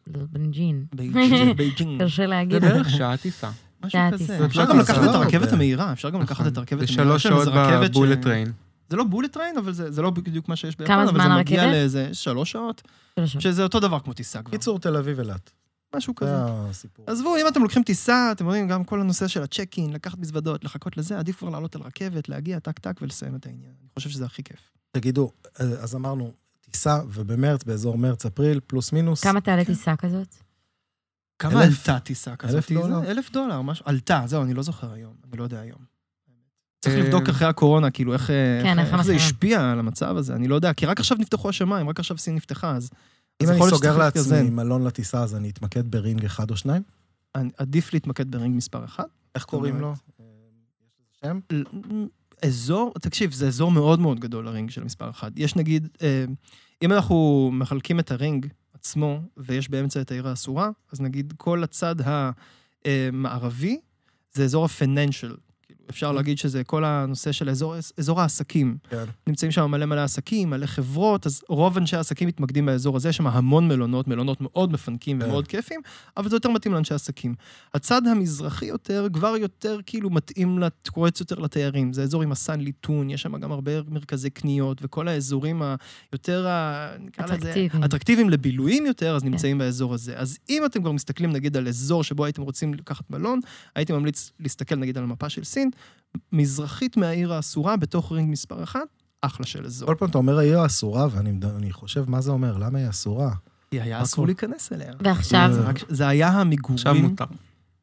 לבנג'ין?
בייג'ינג, בייג'ינג,
קשה
זה
להגיד.
בערך שעה טיסה.
משהו
זה
כזה.
הטיסה.
כן, אפשר
זה
גם
לא
לקחת
טיסה.
את הרכבת
זה-
המהירה, אפשר גם לקחת את הרכבת
נכון. זה
המהירה.
שלוש
שלהם,
שעות
זה רכבת ש-
בבולט טריין.
זה לא בולט טריין, אבל זה זה לא בדיוק מה שיש ביפן,
כמה
אבל זה
זמן
מגיע
הרכבת?
לאיזה שלוש שעות,
שלוש שעות.
שזה אותו דבר כמו טיסה כבר. אה,
קיצור, תל אביב אילת.
משהו
זה
כזה.
הסיפור.
עזבו, אם אתם לוקחים טיסה, אתם יודעים, גם כל הנושא של הצ'ק אין, לקחת מזוודות, לחכות לזה, עדיף כבר לעלות על רכבת, להגיע טק-טק ולסיים את העניין. אני חושב שזה הכי כיף.
תגידו, אה, אז אמרנו, טיסה, ובמרץ, באזור מרץ-אפריל, פלוס מינוס.
כמה תעלה
כן.
טיסה כזאת?
כמה
אלף-
עלתה טיסה כזאת?
אלף
טיסה?
דולר?
אלף דולר, משהו. עלתה, זהו, אני לא זוכר היום. אני לא יודע היום. צריך
אה,
לבדוק אחרי הקורונה, כאילו, איך, אה, איך-
כן, איך
איך זה
המצב?
השפיע על המצב הזה, אני לא יודע, כי רק עכשיו נפתחו השמיים, רק עכשיו סין נפתחה, אז...
אם
אז
אני
יכול להיות
סוגר
שצריך
לעצמי
להתאזן.
מלון לטיסה, אז אני אתמקד ברינג אחד או שניים?
אני- עדיף להתמקד ברינג מספר אחת.
איך קוראים לו? אה, יש לזה שם?
ל- אזור, תקשיב, זה אזור מאוד מאוד גדול, הרינג של מספר אחת. יש נגיד, אה, אם אנחנו מחלקים את הרינג עצמו, ויש באמצע את העיר האסורה, אז נגיד כל הצד המערבי, זה אזור הפיננשל. אפשר להגיד שזה כל הנושא של אזור, אזור העסקים.
כן.
נמצאים שם מלא מלא עסקים, מלא חברות, אז רוב אנשי העסקים מתמקדים באזור הזה, יש שם המון מלונות, מלונות מאוד מפנקים
כן.
ומאוד כיפים, אבל זה יותר מתאים לאנשי עסקים. הצד המזרחי יותר, כבר יותר כאילו מתאים, לת- קורץ יותר לתיירים. זה אזור עם הסן ליטון, יש שם גם הרבה מרכזי קניות, וכל האזורים היותר, ה- נקרא לזה,
אטרקטיביים.
אטרקטיביים לבילויים יותר, אז נמצאים באזור הזה. אז אם אתם כבר מסתכלים נגיד על אזור שבו הייתם רוצים לקחת מלון, הייתי ממליץ להסתכל נגיד על המפה של סין, מזרחית מהעיר האסורה, בתוך רינג מספר אחת, אחלה של אזור.
כל פעם אתה אומר העיר האסורה, ואני מד- אני חושב, מה זה אומר? למה היא אסורה?
היא
נכון.
היה אסור להיכנס אליה.
ועכשיו,
זה אה, רק- זה היה
עכשיו
המגורים.
מותר.
שם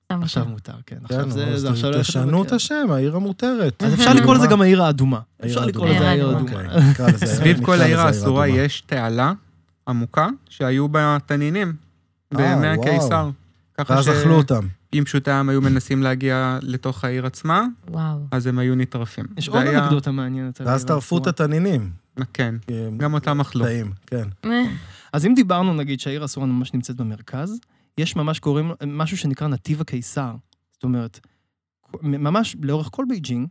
עכשיו
עכשיו.
מותר, כן.
כן,
עכשיו זה,
אבל
זה עכשיו... ללכת
תשנו את
לבקר.
השם, העיר המותרת.
אז אפשר לקרוא לזה גם העיר האדומה.
העיר
אפשר לקרוא
האדומה.
לזה העיר
העיר
האדומה.
אוקיי, נקרא לזה-
סביב
נקרא
כל
לזה
העיר האסורה
האדומה.
יש תעלה עמוקה שהיו בה תנינים
אה,
בימי
וואו.
הקיסר. ככה
ואז אכלו אותם.
שאם פשוטי העם היו מנסים להגיע לתוך העיר עצמה,
וואו.
אז הם היו נטרפים.
יש
זה
עוד
היה-
אנקדוטה מעניינת. על
ואז
העיר
טרפו את
האסורה.
התנינים.
כן,
כי הם
גם לא. אותם אכלו.
טעים, כן.
אז אם דיברנו, נגיד, שהעיר האסורה ממש נמצאת במרכז, יש ממש קוראים, לו- משהו שנקרא נתיב הקיסר. זאת אומרת, ממש לאורך כל בייג'ינג,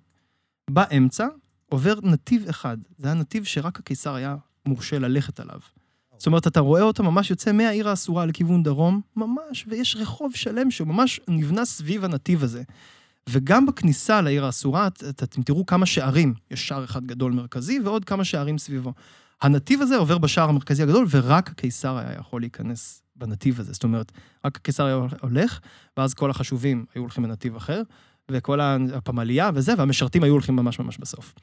באמצע עובר נתיב אחד. זה הנתיב שרק הקיסר היה מורשה ללכת עליו. זאת אומרת, אתה רואה אותו ממש יוצא מהעיר האסורה לכיוון דרום, ממש, ויש רחוב שלם שממש נבנה סביב הנתיב הזה. וגם בכניסה לעיר האסורה, את- את- אתם תראו כמה שערים, יש שער אחד גדול מרכזי ועוד כמה שערים סביבו. הנתיב הזה עובר בשער המרכזי הגדול, ורק הקיסר היה יכול להיכנס בנתיב הזה. זאת אומרת, רק הקיסר היה הולך, ואז כל החשובים היו הולכים לנתיב אחר, וכל ה- הפמליה וזה, והמשרתים היו הולכים ממש ממש בסוף.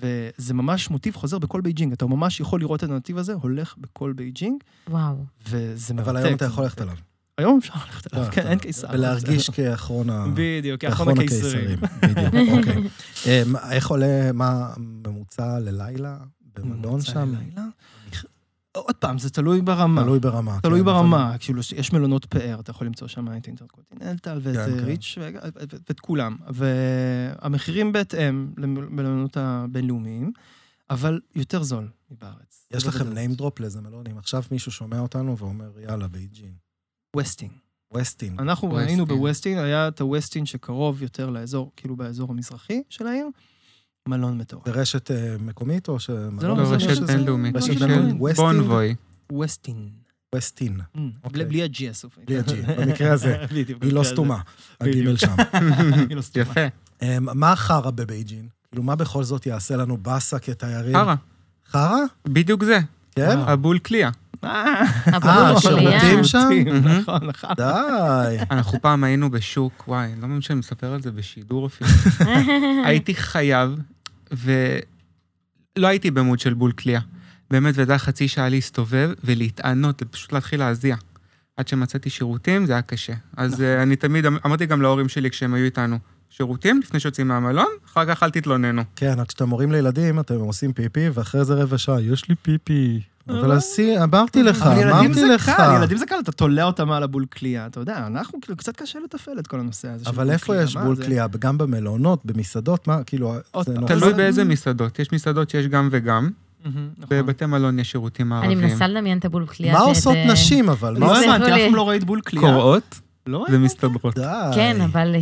וזה ממש מוטיב חוזר בכל בייג'ינג. אתה ממש יכול לראות את הנתיב הזה הולך בכל בייג'ינג,
וואו.
וזה מרתק.
אבל היום אתה יכול ללכת עליו.
היום אפשר ללכת עליו,
לא,
כן,
אתה-
אין קיסר.
ולהרגיש כאחרון ה...
בדיוק, כאחרון הקיסרים.
בדיוק, אוקיי. אמ, איך עולה, מה ממוצע ללילה במלון
ממוצע
שם?
ללילה. עוד פעם, זה תלוי ברמה.
תלוי ברמה.
תלוי
כן,
ברמה, כאילו, יש מלונות פאר, אתה יכול למצוא שם את אינטרקוטיננטל ואת
כן,
אה,
כן.
ריץ' ו- ו- ואת כולם. והמחירים בהתאם למלונות הבינלאומיים, אבל יותר זול מבארץ.
אבל יש
זה
לכם
בוודאות.
name drop לאיזה מלון? אם עכשיו מישהו שומע אותנו ואומר, יאללה, בייג'ין,
ווסטין.
ווסטין.
אנחנו
ווסטין.
היינו בווסטין, היה את הווסטין שקרוב יותר לאזור, כאילו באזור המזרחי של העיר, מלון מטורף.
זה רשת אה, מקומית או ש... זה
לא,
לא,
זה
רשת
שזה-
בינלאומית
רשת
של
בינלאומית.
ווסטינג.
בונבוי.
ווסטין.
ווסטין,
Mm,
אוקיי.
בלי הג'י הסופי.
בלי הג'י, במקרה הזה.
בדיוק,
היא לא
במקרה הזה.
סתומה,
כן. בדיוק.
הגימל שם.
היא לא סתומה.
יפה.
אמ, מה החרא בבייג'ין? כאילו, מה בכל זאת יעשה לנו באסה כתיירים?
חרא,
חרא?
בדיוק זה.
כן?
הבול קליעה.
אה,
אה,
הבחור
השירותים
שלי,
שם?
נכון, נכון.
די.
אנחנו פעם היינו בשוק, וואי, לא מאמין שאני מספר על זה בשידור אפילו. הייתי חייב, ולא הייתי במוד של בול קליעה. באמת, וזה היה חצי שעה להסתובב ולהתענות, פשוט להתחיל להזיע. עד שמצאתי שירותים, זה היה קשה. אז אה, אני תמיד, אמרתי גם להורים שלי כשהם היו איתנו, שירותים לפני שיוצאים מהמלון, אחר כך אל תתלוננו.
כן, רק כשאתם מורים לילדים, אתם עושים פיפי, ואחרי זה רבע שעה, יש לי פיפי. אבל עשי, אמרתי לך,
אה. אבל ילדים
אמרתי
זה
לך.
קל, ילדים זה קל, אתה תולה אותם על הבול קליעה, אתה יודע, אנחנו כאילו קצת קשה לתפעל את כל הנושא הזה. של
אבל
בול
איפה
קליעה,
יש
מה
בול
זה?
קליעה? גם במלונות, במסעדות, מה, כאילו,
עוד
זה
פעם.
נורא.
תלוי
אבל-
באיזה מסעדות. יש מסעדות שיש גם וגם,
מהמם, נכון.
בבתי מלון יש שירותים
אני
מערביים.
מנסה לדמיין את הבול קליעה.
מה
ואת,
עושות
אה,
נשים, אבל? מה
לא
זה-
עושות?
הבנתי, אף
לי.
פעם לא ראית בול קליעה.
קוראות
לא ראית?
ומסתדרות.
די.
כן, אבל... אה,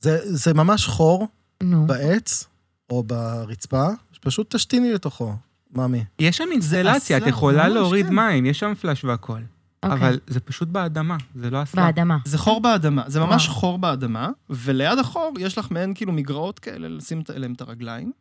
זה- זה ממש חור
נו.
בעץ, או ברצפה, שפשוט תשתיני לתוכו, מאמי.
יש שם אינסטלציה, את
אסלה,
יכולה
ממש,
להוריד
כן.
מים, יש שם פלאש והכול.
אוקיי.
אבל זה פשוט באדמה, זה לא אסלה.
באדמה.
זה חור באדמה, זה
אה.
ממש
וואו.
חור באדמה, וליד החור יש לך מעין כאילו מגרעות כאלה לשים את- אליהם את הרגליים,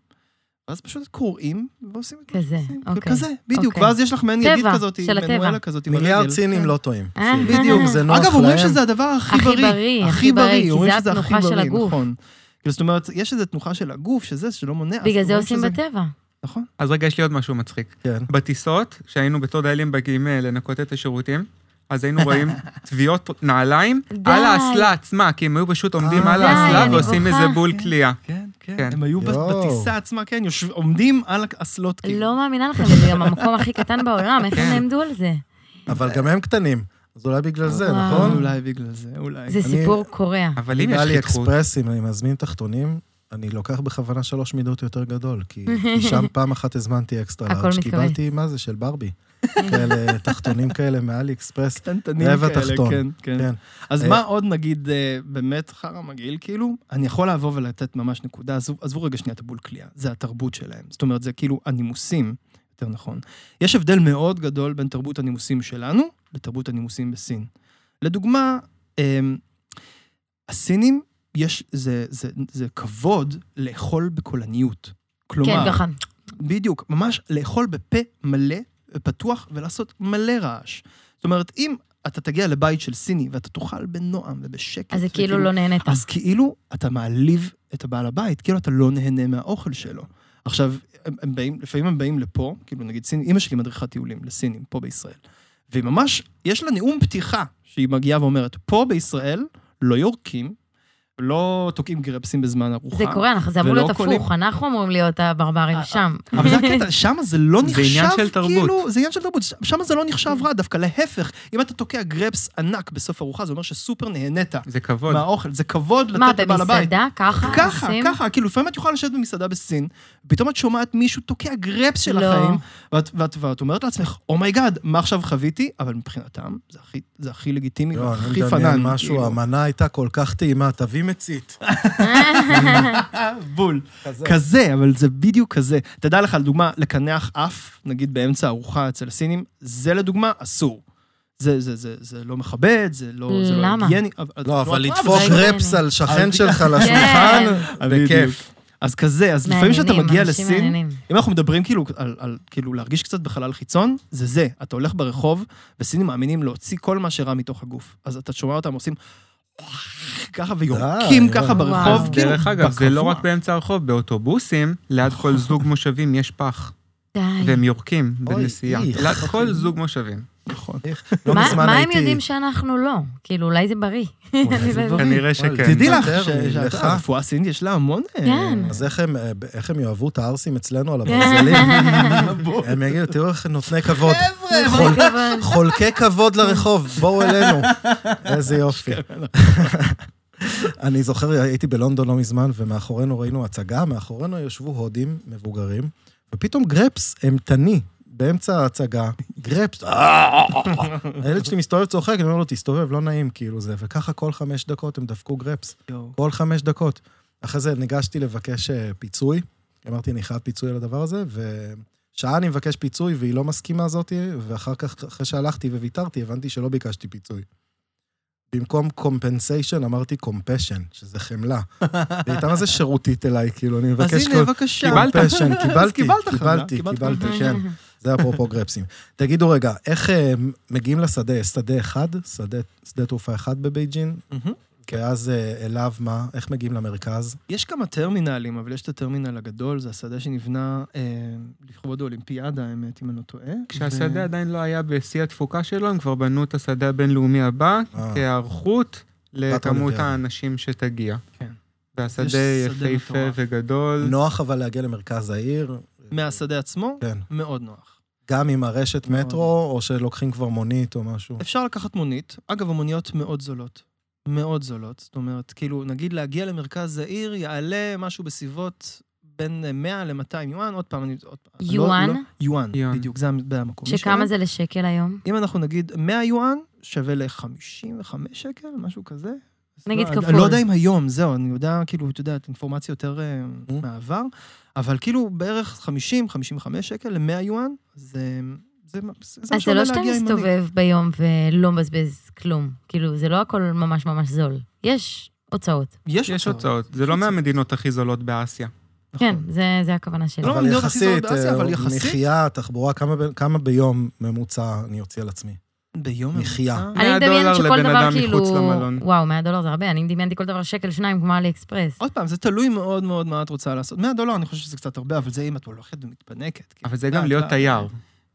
ואז פשוט קורעים ועושים את מה
כזה,
שעושים.
אוקיי.
כזה, בדיוק,
אוקיי.
ואז יש לך מעין
טבע,
ידית כזאת,
של הטבע.
מנואלה כזאת עם
מיליארד
הרגל.
סינים
כן.
לא טועים.
אה.
בדיוק, זה נוח להם.
אגב, אומרים שזה הדבר הכי
הכי
בריא.
בריא, הכי בריא, כי
אומרים
זה
שזה הכי
התנוחה של
בריא,
הגוף.
נכון. כאילו, זאת אומרת, יש איזו תנוחה של הגוף, שזה, שלא מונע.
בגלל
אז
זה
אומרים
עושים
שזה-
בטבע.
נכון.
אז רגע, יש לי עוד משהו מצחיק.
כן.
בטיסות, כשהיינו בתור דיילים מגיעים אה, לנקות את השירותים, אז היינו רואים טביעות נעליים
די.
על האסלה עצמה, כי הם היו פשוט עומדים
אה,
על
די,
האסלה
אני
ועושים
בוכה.
איזה בול קליעה.
כן, כן.
כן.
הם היו בת-
יואו.
בטיסה עצמה, כן, יושב- עומדים על האסלות, כאילו.
לא מאמינה לכם, זה גם המקום הכי קטן בעולם, איך הם
כן.
נעמדו על זה?
אבל גם הם קטנים, אז אולי בגלל זה,
וואו.
נכון?
אולי בגלל זה, אולי.
זה סיפור קורע.
אבל אם יש
באלי
שכיחות,
אקספרס, אם אני מזמין תחתונים, אני לוקח בכוונה שלוש מידות יותר גדול, כי כי שם פעם אחת הזמנתי אקסטרה
הכל
לארג',
מתכווץ.
קיבלתי, מה זה, של ברבי. כאלה תחתונים כאלה מאלי אקספרס.
כן.
קטנטנים
רבע
כאלה,
תחתון.
כן, כן.
כן.
אז
אה,
מה עוד נגיד אה, באמת חרא מגעיל, כאילו? אני יכול לבוא ולתת ממש נקודה, עזבו- עזבו רגע שנייה את הבול קליעה, זה התרבות שלהם. זאת אומרת, זה כאילו הנימוסים, יותר נכון. יש הבדל מאוד גדול בין תרבות הנימוסים שלנו לתרבות הנימוסים בסין. לדוגמה, אמ, הסינים, יש, זה, זה, זה כבוד לאכול בקולניות.
כן,
כלומר,
ככה.
בדיוק, ממש לאכול בפה מלא, פתוח, ולעשות מלא רעש. זאת אומרת, אם אתה תגיע לבית של סיני ואתה תאכל בנועם ובשקט...
אז זה כאילו
וכאילו-
לא נהנית.
אז כאילו אתה מעליב את הבעל הבית, כאילו אתה לא נהנה מהאוכל שלו. עכשיו, הם, הם באים, לפעמים הם באים לפה, כאילו נגיד סין, אימא שלי מדריכת טיולים לסינים פה בישראל, והיא ממש, יש לה נאום פתיחה, שהיא מגיעה ואומרת, פה בישראל לא יורקים, לא תוקעים גרפסים בזמן ארוחה.
זה קורה, אנחנו- זה אמור
ולא
להיות
קולים.
הפוך, אנחנו אמורים להיות הברברים
אה,
שם.
אבל זה הקטע, שם זה לא
זה
נחשב,
עניין של תרבות.
כאילו, זה עניין של תרבות, שם זה לא נחשב רע, דווקא להפך, אם אתה תוקע גרפס ענק בסוף ארוחה, זה אומר שסופר נהנית
זה כבוד.
מהאוכל, זה כבוד
מה,
לתת לבעל הבית.
במסעדה? ככה?
ככה,
עושים?
ככה, כאילו לפעמים את יכולה לשבת במסעדה בסין, פתאום את שומעת מישהו תוקע גרפס של
לא.
החיים, ואת, ואת, ואת אומרת לעצמך, אומייגאד, מה עכשיו חוויתי? אבל מבחינתם, זה הכי, זה הכי לגיטימי
לא, אני
והכי
מדמיין
פנן.
משהו,
כאילו.
המנה הייתה כל כך טעימה, תביא מצית.
בול. כזה, אבל זה בדיוק כזה. תדע לך, לדוגמה, לקנח אף, נגיד באמצע ארוחה אצל הסינים, זה לדוגמה אסור. זה, זה, זה, זה לא מכבד, זה לא, זה לא
למה?
היגייני.
לא, אבל לדפוק
זה הגיוני.
רפס על שכן
אז-
שלך
כן.
לשולחן,
בכיף. אז כזה, אז לפעמים כשאתה
מעניינים,
מגיע
אנשים
לסין,
מעניינים.
אם אנחנו מדברים כאילו על, על כאילו להרגיש קצת בחלל חיצון, זה זה. אתה הולך ברחוב, וסינים מאמינים להוציא כל מה שרע מתוך הגוף. אז אתה שומע אותם עושים... ככה ויורקים
די,
ככה
וואו.
ברחוב,
וואו.
כאילו,
דרך אגב, זה לא
בקבוע.
רק באמצע הרחוב, באוטובוסים, ליד כל זוג מושבים יש פח,
די.
והם יורקים
אוי,
בנסיעה.
איך.
ליד כל זוג מושבים.
נכון.
לא
מה-
מזמן
מה הם
הייתי-
יודעים שאנחנו לא? כאילו, אולי זה בריא.
אולי זה
אני לא
בריא.
כנראה שכן.
וואלה,
תדעי לך
יותר
ש-
מלך.
שהרפואה הסינית יש לה המון... אה,
כן.
אז איך הם, אה, איך הם יאהבו את הערסים אצלנו על הברזלים? הם יגידו, תראו איך נותני כבוד.
כל
חול-
הכבוד.
חולקי כבוד לרחוב, בואו אלינו. איזה יופי. אני זוכר, הייתי בלונדון לא מזמן, ומאחורינו ראינו הצגה, מאחורינו ישבו הודים מבוגרים, ופתאום גרפס אימתני באמצע ההצגה, גרפס, אה, הילד שלי מסתובב צוחק, אני אומר לו, תסתובב, לא נעים, כאילו זה, וככה כל חמש דקות הם דפקו גרפס,
יואו.
כל חמש דקות. אחרי זה ניגשתי לבקש אה, פיצוי, אמרתי, אני חייב פיצוי על הדבר הזה, ושעה אני מבקש פיצוי, והיא לא מסכימה זאתי, ואחר כך, אחרי שהלכתי וויתרתי, הבנתי שלא ביקשתי פיצוי. במקום compensation אמרתי compassion, שזה חמלה. בעיקר זה שירותית אליי, כאילו, אני מבקש...
אז הנה,
כל-
בבקשה.
קיבלת.
compassion,
אז
קיבלתי,
קיבלת חמלה,
קיבלתי,
קיבלת
קיבלתי, כן. זה אפרופו גרפסים. תגידו רגע, איך אה, מגיעים לשדה? יש שדה אחד? שדה, שדה תעופה אחד בבייג'ין?
מהמם.
ואז אה, אליו מה? איך מגיעים למרכז?
יש כמה טרמינלים, אבל יש את הטרמינל הגדול, זה השדה שנבנה אה, לכבוד האולימפיאדה, האמת, אם אני לא טועה.
כשהשדה עדיין לא היה בשיא התפוקה שלו, הם כבר בנו את השדה הבינלאומי הבא,
אה.
כהיערכות לכמות
אולימפיאדה.
האנשים שתגיע.
כן. יש
והשדה
שדה
יפהפה
מטורף.
וגדול.
נוח אבל להגיע למרכז העיר?
מהשדה עצמו,
כן.
מאוד נוח.
גם עם הרשת מטרו, או שלוקחים כבר מונית או משהו?
נכון. אפשר לקחת מונית. אגב, המוניות מאוד זולות. מאוד זולות. זאת אומרת, כאילו, נגיד להגיע למרכז העיר יעלה משהו בסביבות בין אה, 100 ל-200 יואן, עוד פעם, אני... עוד פעם, לא-
יואן?
לא- יואן,
יואן.
בדיוק, זה המקום.
שכמה זה לשקל היום?
אם אנחנו נגיד 100 יואן, שווה ל-55 שקל, משהו כזה. אז
נגיד
לא, אני-
כפול.
אני לא יודע אם היום, זהו, אני יודע, כאילו, אתה יודע, את אינפורמציה יותר אה,
Mm.
מהעבר, אבל כאילו בערך 50-55 שקל ל-100 יואן, זה... זה מה- זה מה
אז זה
שעולה
לא שאתה
להגיע עם מונית.
מסתובב ביום ולא מבזבז כלום. כאילו, זה לא הכל ממש ממש זול. יש הוצאות.
נכון.
יש הוצאות. זה לא
הוצאות.
מהמדינות הכי זולות באסיה.
נכון.
כן, זה זה הכוונה שלי.
לא,
אבל
המדינות הכי זולות
יחסית,
באסיה, אבל
אה,
יחסית-
מחיה, תחבורה, כמה ב- כמה ביום ממוצע אני אוציא על עצמי?
ביום
מחיה.
ממוצע.
אני
100
מדמיינת
דולר
שכל
לבן
דבר
אדם
כאילו...
מחוץ למלון.
וואו, 100 דולר זה הרבה, אני דמיינתי כל דבר שקל שניים כמו עלי אקספרס.
עוד פעם, זה תלוי מאוד מאוד מה את רוצה לעשות. 100 דולר, אני חושב שזה קצת הרבה, אבל זה אם את הולכת ומתפנקת. כאילו,
אבל זה
את יודעת,
גם להיות
לא-
תייר.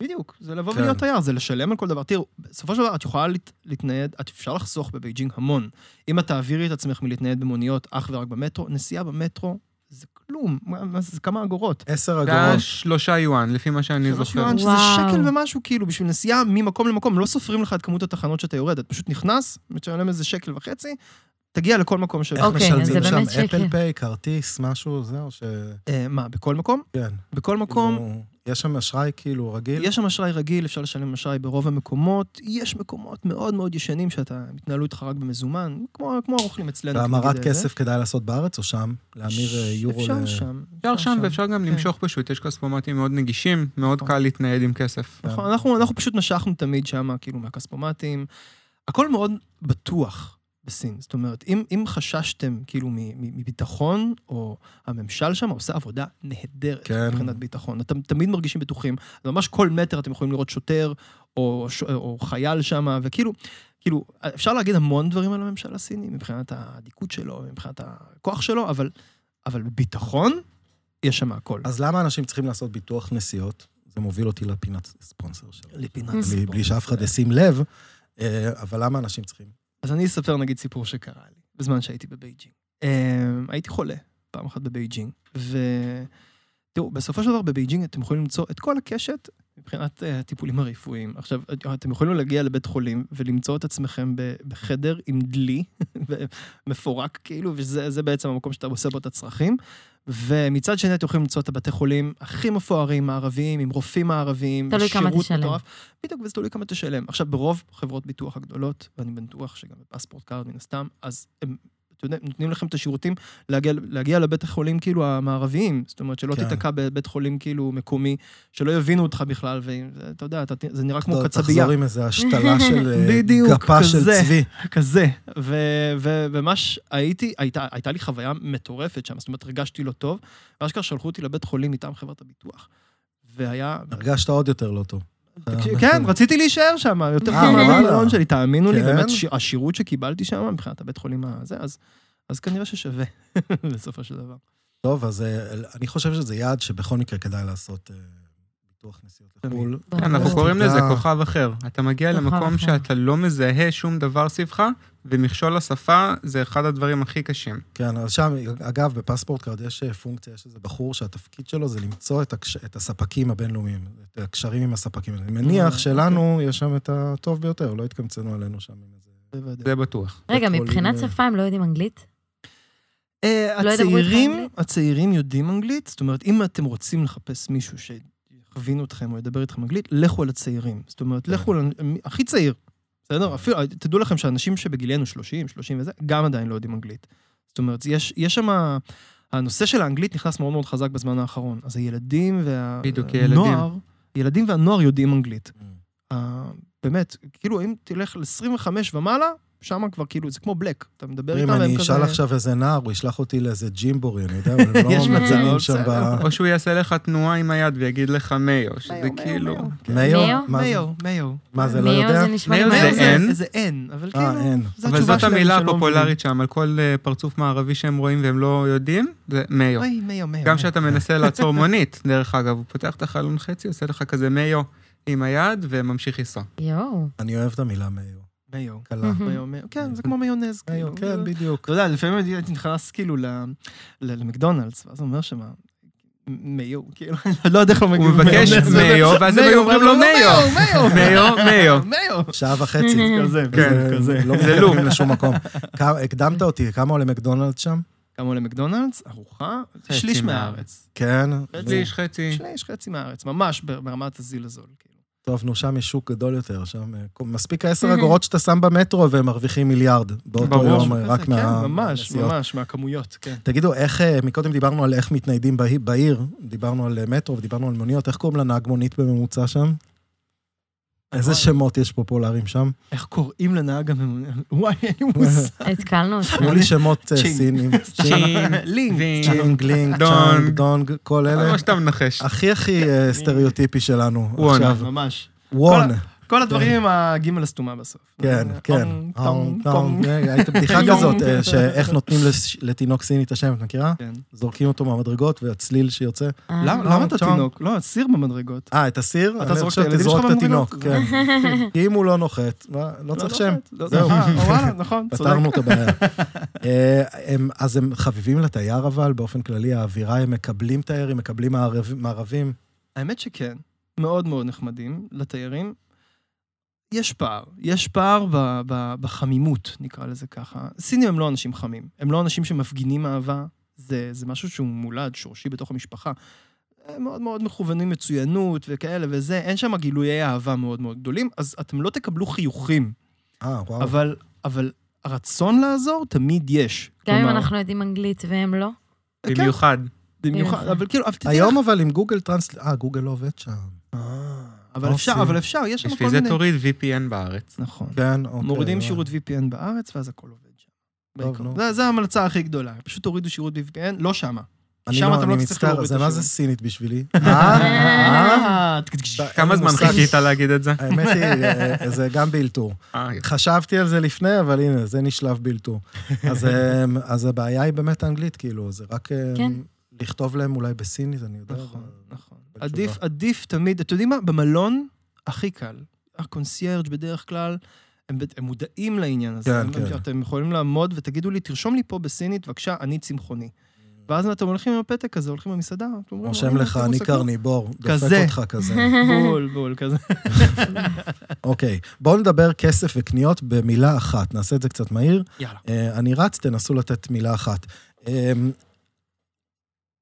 בדיוק, זה לבוא
כן.
ולהיות תייר, זה לשלם על כל דבר. תראו, בסופו של דבר את יכולה להת, להתנייד, את אפשר לחסוך בבייג'ינג המון. אם את תעבירי את עצמך מלהתנייד במוניות אך ורק במטרו, נסיעה במטרו זה כלום, מה- מה זה זה כמה אגורות.
עשר
זה היה
אגורות.
שלושה יואן, לפי מה שאני
שלוש
זוכר.
יואן, שזה
וואו.
שקל ומשהו, כאילו, בשביל נסיעה ממקום למקום, לא סופרים לך את כמות התחנות שאתה יורד, את פשוט נכנס, משלם איזה שקל וחצי, תגיע לכל מקום ש...
איך
אוקיי, אז
משלמים
זה
שם?
באמת שקל.
אפל פיי, כרטיס, משהו, זהו, ש...
אה, מה, בכל מקום?
כן.
בכל מקום,
כאילו, יש שם אשראי כאילו רגיל?
יש שם אשראי רגיל, אפשר לשלם אשראי ברוב המקומות. יש מקומות מאוד מאוד ישנים שאתה, התנהלו איתך רק במזומן, כמו, כמו הרוכלים אצלנו.
והמרת
נגיד,
כסף כדאי לעשות בארץ או שם?
אה,
להמיר אה, יורו
אפשר
ל...
שם.
אפשר שם ואפשר גם
כן.
למשוך פשוט, יש כספומטים מאוד נגישים, מאוד
נכון.
קל להתנייד עם כסף.
נכון, אנחנו, אנחנו פשוט משכנו תמיד שם, כאילו, מהכספומטים. הכל מאוד בטוח בסין. זאת אומרת, אם, אם חששתם, כאילו, מ- מ- מביטחון, או הממשל שם עושה עבודה נהדרת
כן.
מבחינת ביטחון. אתם תמיד מרגישים בטוחים. אז ממש כל מטר אתם יכולים לראות שוטר, או, ש- או חייל שם, וכאילו... כאילו, אפשר להגיד המון דברים על הממשל הסיני, מבחינת האדיקות שלו, מבחינת הכוח שלו, אבל, אבל ביטחון, יש שם הכל.
אז למה אנשים צריכים לעשות ביטוח נסיעות? זה מוביל אותי לפינת ספונסר שלו.
לפינת כן.
בלי-
בלי-
ספורט.
בלי שאף אחד ישים לב, אה, אבל למה אנשים צריכים?
אז אני אספר נגיד סיפור שקרה לי, בזמן שהייתי בבייג'ינג. אמ, הייתי חולה פעם אחת בבייג'ינג, ותראו, בסופו של דבר בבייג'ינג אתם יכולים למצוא את כל הקשת מבחינת אה, הטיפולים הרפואיים. עכשיו, אתם יכולים להגיע לבית חולים ולמצוא את עצמכם ב- בחדר עם דלי, מפורק כאילו, וזה זה בעצם המקום שאתה עושה בו את הצרכים. ומצד שני, אתם יכולים למצוא את הבתי חולים הכי מפוארים, מערביים, עם רופאים מערביים,
תלוי כמה
ושירות
תשלם.
מטורף. בדיוק, וזה תלוי כמה תשלם. עכשיו, ברוב חברות ביטוח הגדולות, ואני בטוח שגם בפספורט קארד מן הסתם, אז הם, אתה יודע, נותנים לכם את השירותים להגיע, להגיע לבית החולים כאילו המערביים. זאת אומרת, שלא
כן.
כן. תיתקע בבית חולים כאילו מקומי, שלא יבינו אותך בכלל, ואתה יודע, אתה, זה נראה כמו
לא,
קצבייה.
תחזור עם איזה השתלה של אה,
בדיוק,
גפה של
כזה.
צבי.
כזה. ו- ו- וממש הייתי, הייתה, הייתה לי חוויה מטורפת שם, זאת אומרת, הרגשתי לא טוב, ואשכרה שלחו אותי לבית חולים מטעם חברת הביטוח. והיה,
הרגשת עוד יותר לא טוב.
תקשיב, כן, רציתי להישאר שם, יותר
אה,
טוב
וואלה.
מהמלון שלי, תאמינו לי,
כן?
באמת, ש- השירות שקיבלתי שם מבחינת הבית חולים הזה, אז- אז כנראה ששווה, בסופו של דבר.
טוב, אז אה, אני חושב שזה יעד שבכל מקרה כדאי לעשות אה, ביטוח נסיעות לחו"ל.
ברור.
כן, אנחנו קוראים לזה
תודה.
כוכב אחר. אתה מגיע
כוכב
למקום
אחר.
שאתה לא מזהה שום דבר סביבך, ומכשול השפה זה אחד הדברים הכי קשים.
כן, אז שם, אגב, בפספורט קארד יש אה, פונקציה, יש איזה בחור שהתפקיד שלו זה למצוא את, הקש... את הספקים הבינלאומיים, את הקשרים עם הספקים. אני מניח
אה,
שלנו יש שם את הטוב ביותר, לא התקמצנו עלינו שם עם
Mm.
איזה...
בוודאי.
זה בטוח.
רגע,
בית חולים,
מבחינת
אה,
שפה הם לא יודעים אנגלית?
אה,
לא ידברו איתך
הצעירים,
אנגלית?
הצעירים יודעים אנגלית, זאת אומרת, אם אתם רוצים לחפש מישהו שיכווין אתכם או ידבר איתכם אנגלית, לכו על הצעירים. זאת אומרת,
כן.
לכו על... הכי צעיר, בסדר? אפילו, תדעו לכם שאנשים שבגילנו 30, 30 וזה, גם עדיין לא יודעים אנגלית. זאת אומרת, יש שם... הנושא של האנגלית נכנס מאוד מאוד חזק בזמן האחרון. אז הילדים והנוער...
בדיוק, ילדים.
ילדים והנוער יודעים אנגלית.
Mm.
אה, באמת, כאילו, אם תלך ל-25 ומעלה, שם כבר כאילו, זה כמו בלק. אתה מדבר איתם
אם
והם
אני
כזה...
אשאל עכשיו איזה נער, הוא ישלח אותי לאיזה ג'ימבורי, אני יודע, אבל הם
יש
לא
מצב, אוקיי.
מבינים שם ב...
בסדר.
או שהוא יעשה לך תנועה עם היד ויגיד לך מאיו, שזה
מאיו,
כאילו...
מאיו.
מאיו?
מאיו?
מה זה- מה זה,
מאיו, מאיו.
לא
מאיו
יודע?
זה נשמע לי
מאיו
מאיו
זה אין.
זה אין, אבל כאילו...
אה, אין.
זו
אבל
התשובה
זאת
שלהם לא
המילה
שלא מבינים.
הפופולרית שם, על כל אה, פרצוף מערבי שהם רואים והם לא יודעים, זה מאיו.
אוי, מאיו, מאיו.
גם כשאתה מנסה לעצור מונית, דרך אגב, הוא פותח את החלון חצי, עושה לך כזה מאיו עם היד, וממשיך לנסוע.
יואו.
אני אוהב את המילה מאיו.
מאיו.
קלה.
מהמם.
מאיו, מאיו. כן, זה כמו מיונז.
מאיו,
כאילו.
כן, בדיוק.
אתה יודע, לפעמים הייתי נכנס כאילו ל- ל- למקדונלדס, ואז הוא אומר שמה... מאיו, כאילו, אני לא יודע איך הוא מגיב.
הוא מבקש
מיונז.
מאיו, ואז הם היו אומרים לו מאיו.
מאיו,
מאיו, מאיו.
מאיו.
שעה וחצי.
כזה,
כן,
כזה.
לא
זה לופ.
מתקדמים לשום מקום. כמה- הקדמת אותי, כמה עולה מקדונלדס שם?
כמה עולה מקדונלדס? ארוחה? שליש
מהארץ.
מהארץ.
כן.
חצי, איש חצי.
שליש, חצי מהארץ, ממש ברמת הזיל הזול. כאילו.
טוב, נו, שם יש שוק גדול יותר, שם... אה, מספיק העשר אגורות שאתה שם במטרו והם מרוויחים מיליארד. באותו
ברור,
יום,
כזה,
אה, רק מה...
כן, ממש,
מהנסיעות.
ממש, מהכמויות, כן.
תגידו, איך... אה, מקודם דיברנו על איך מתניידים בהי- בעיר, דיברנו על אה, מטרו ודיברנו על מוניות, איך קוראים לנהג מונית בממוצע שם? איזה
וואי.
שמות יש פופולריים שם?
איך קוראים לנהג הממונה? וואי, אין לי מושג.
התקלנו אותך.
תנו לי שמות אה,
צ'ינג.
סינים.
צ'ינג,
לינק.
וינג,
צ'ינג, לינג,
דונג.
צ'אנג, דונג, כל אלה.
כמו לא שאתה מנחש.
הכי הכי אה,
כן.
סטריאוטיפי שלנו
וואן.
עכשיו.
ממש.
וון,
כל הדברים עם הגימל הסתומה בסוף. אה,
כן, כן.
טונג,
טונג,
טונג,
טונג.
טונג.
אה, הייתה בדיחה
טונג.
כזאת, אה, שאיך נותנים לש- לתינוק סיני את השם, את מכירה?
כן.
זורקים אותו מהמדרגות והצליל שיוצא.
אה,
למה
טונג,
למה אתה
טונג.
תינוק? לא, סיר במדרגות.
אה, את הסיר?
אתה
אני
זורק
חושב
את הילדים
שתזרוק
שלך
התינוק,
במדרגות?
כן. כי אם הוא לא נוחת, מה, לא צריך שם.
לא,
זהו.
אה, וואלה, נכון, צודק.
פתרנו את הבעיה. אה, הם- אז הם חביבים לתייר, אבל באופן כללי, האווירה, הם מקבלים תייר, הם מקבלים מערב- מערבים.
האמת שכן, מאוד מאוד נחמדים לתיירים. יש פער, יש פער ב, ב, בחמימות, נקרא לזה ככה. סינים הם לא אנשים חמים, הם לא אנשים שמפגינים אהבה, זה, זה משהו שהוא מולד, שורשי בתוך המשפחה. הם מאוד מאוד מכוונים מצוינות וכאלה וזה, אין שם גילויי אהבה מאוד מאוד גדולים, אז אתם לא תקבלו חיוכים,
אה, וואו.
אבל, אבל הרצון לעזור תמיד יש.
גם אם
כלומר,
אנחנו יודעים אנגלית והם
אה,
לא.
כן.
במיוחד.
במיוחד,
כן.
אבל כאילו, אבל תדעי
היום
לך-
אבל עם גוגל טרנסל... אה, גוגל לא עובד שם.
אבל אפשר,
עושים.
אבל אפשר, יש שם כל
בשביל זה
מיני...
תוריד VPN בארץ.
נכון.
כן, אוקיי.
מורידים
הבנתי.
שירות VPN בארץ, ואז הכל עובד שם.
טוב,
בעיקרון.
נו.
זה- זה ההמלצה הכי גדולה, פשוט תורידו שירות VPN, לא שמה.
אני
שם
לא,
אתם לא
אני
תצטרכו
מצטער,
להוריד
זה
את
מה
השיעור.
זה סינית בשבילי? אה,
אה,
אה,
כמה זמן
מושג.
חיכית להגיד את זה?
האמת היא, אה, זה גם באלתור.
אה,
חשבתי על זה לפני, אבל הנה, זה נשלב באלתור. אז, אה, אז הבעיה היא באמת האנגלית, כאילו, זה רק אה,
כן.
לכתוב להם אולי בסינית, אני יודע.
נכון,
אבל-
נכון.
בתשובה.
עדיף, עדיף תמיד, אתם יודעים מה? במלון הכי קל. הקונסיירג' בדרך כלל, הם ב- הם מודעים לעניין הזה.
כן,
הם-
כן.
אתם יכולים לעמוד ותגידו לי, תרשום לי פה בסינית, בבקשה, אני צמחוני. ואז אתם הולכים עם הפתק הזה, הולכים למסעדה, אתם אומרים...
Mm. רושם
"הנה,
לך,
תראו
אני
שקית".
קרניבור, דופק
כזה.
אותך כזה.
בול, בול, כזה.
אוקיי, בואו נדבר כסף וקניות במילה אחת, נעשה את זה קצת מהיר.
יאללה.
אה, אני רץ, תנסו לתת מילה אחת. אה,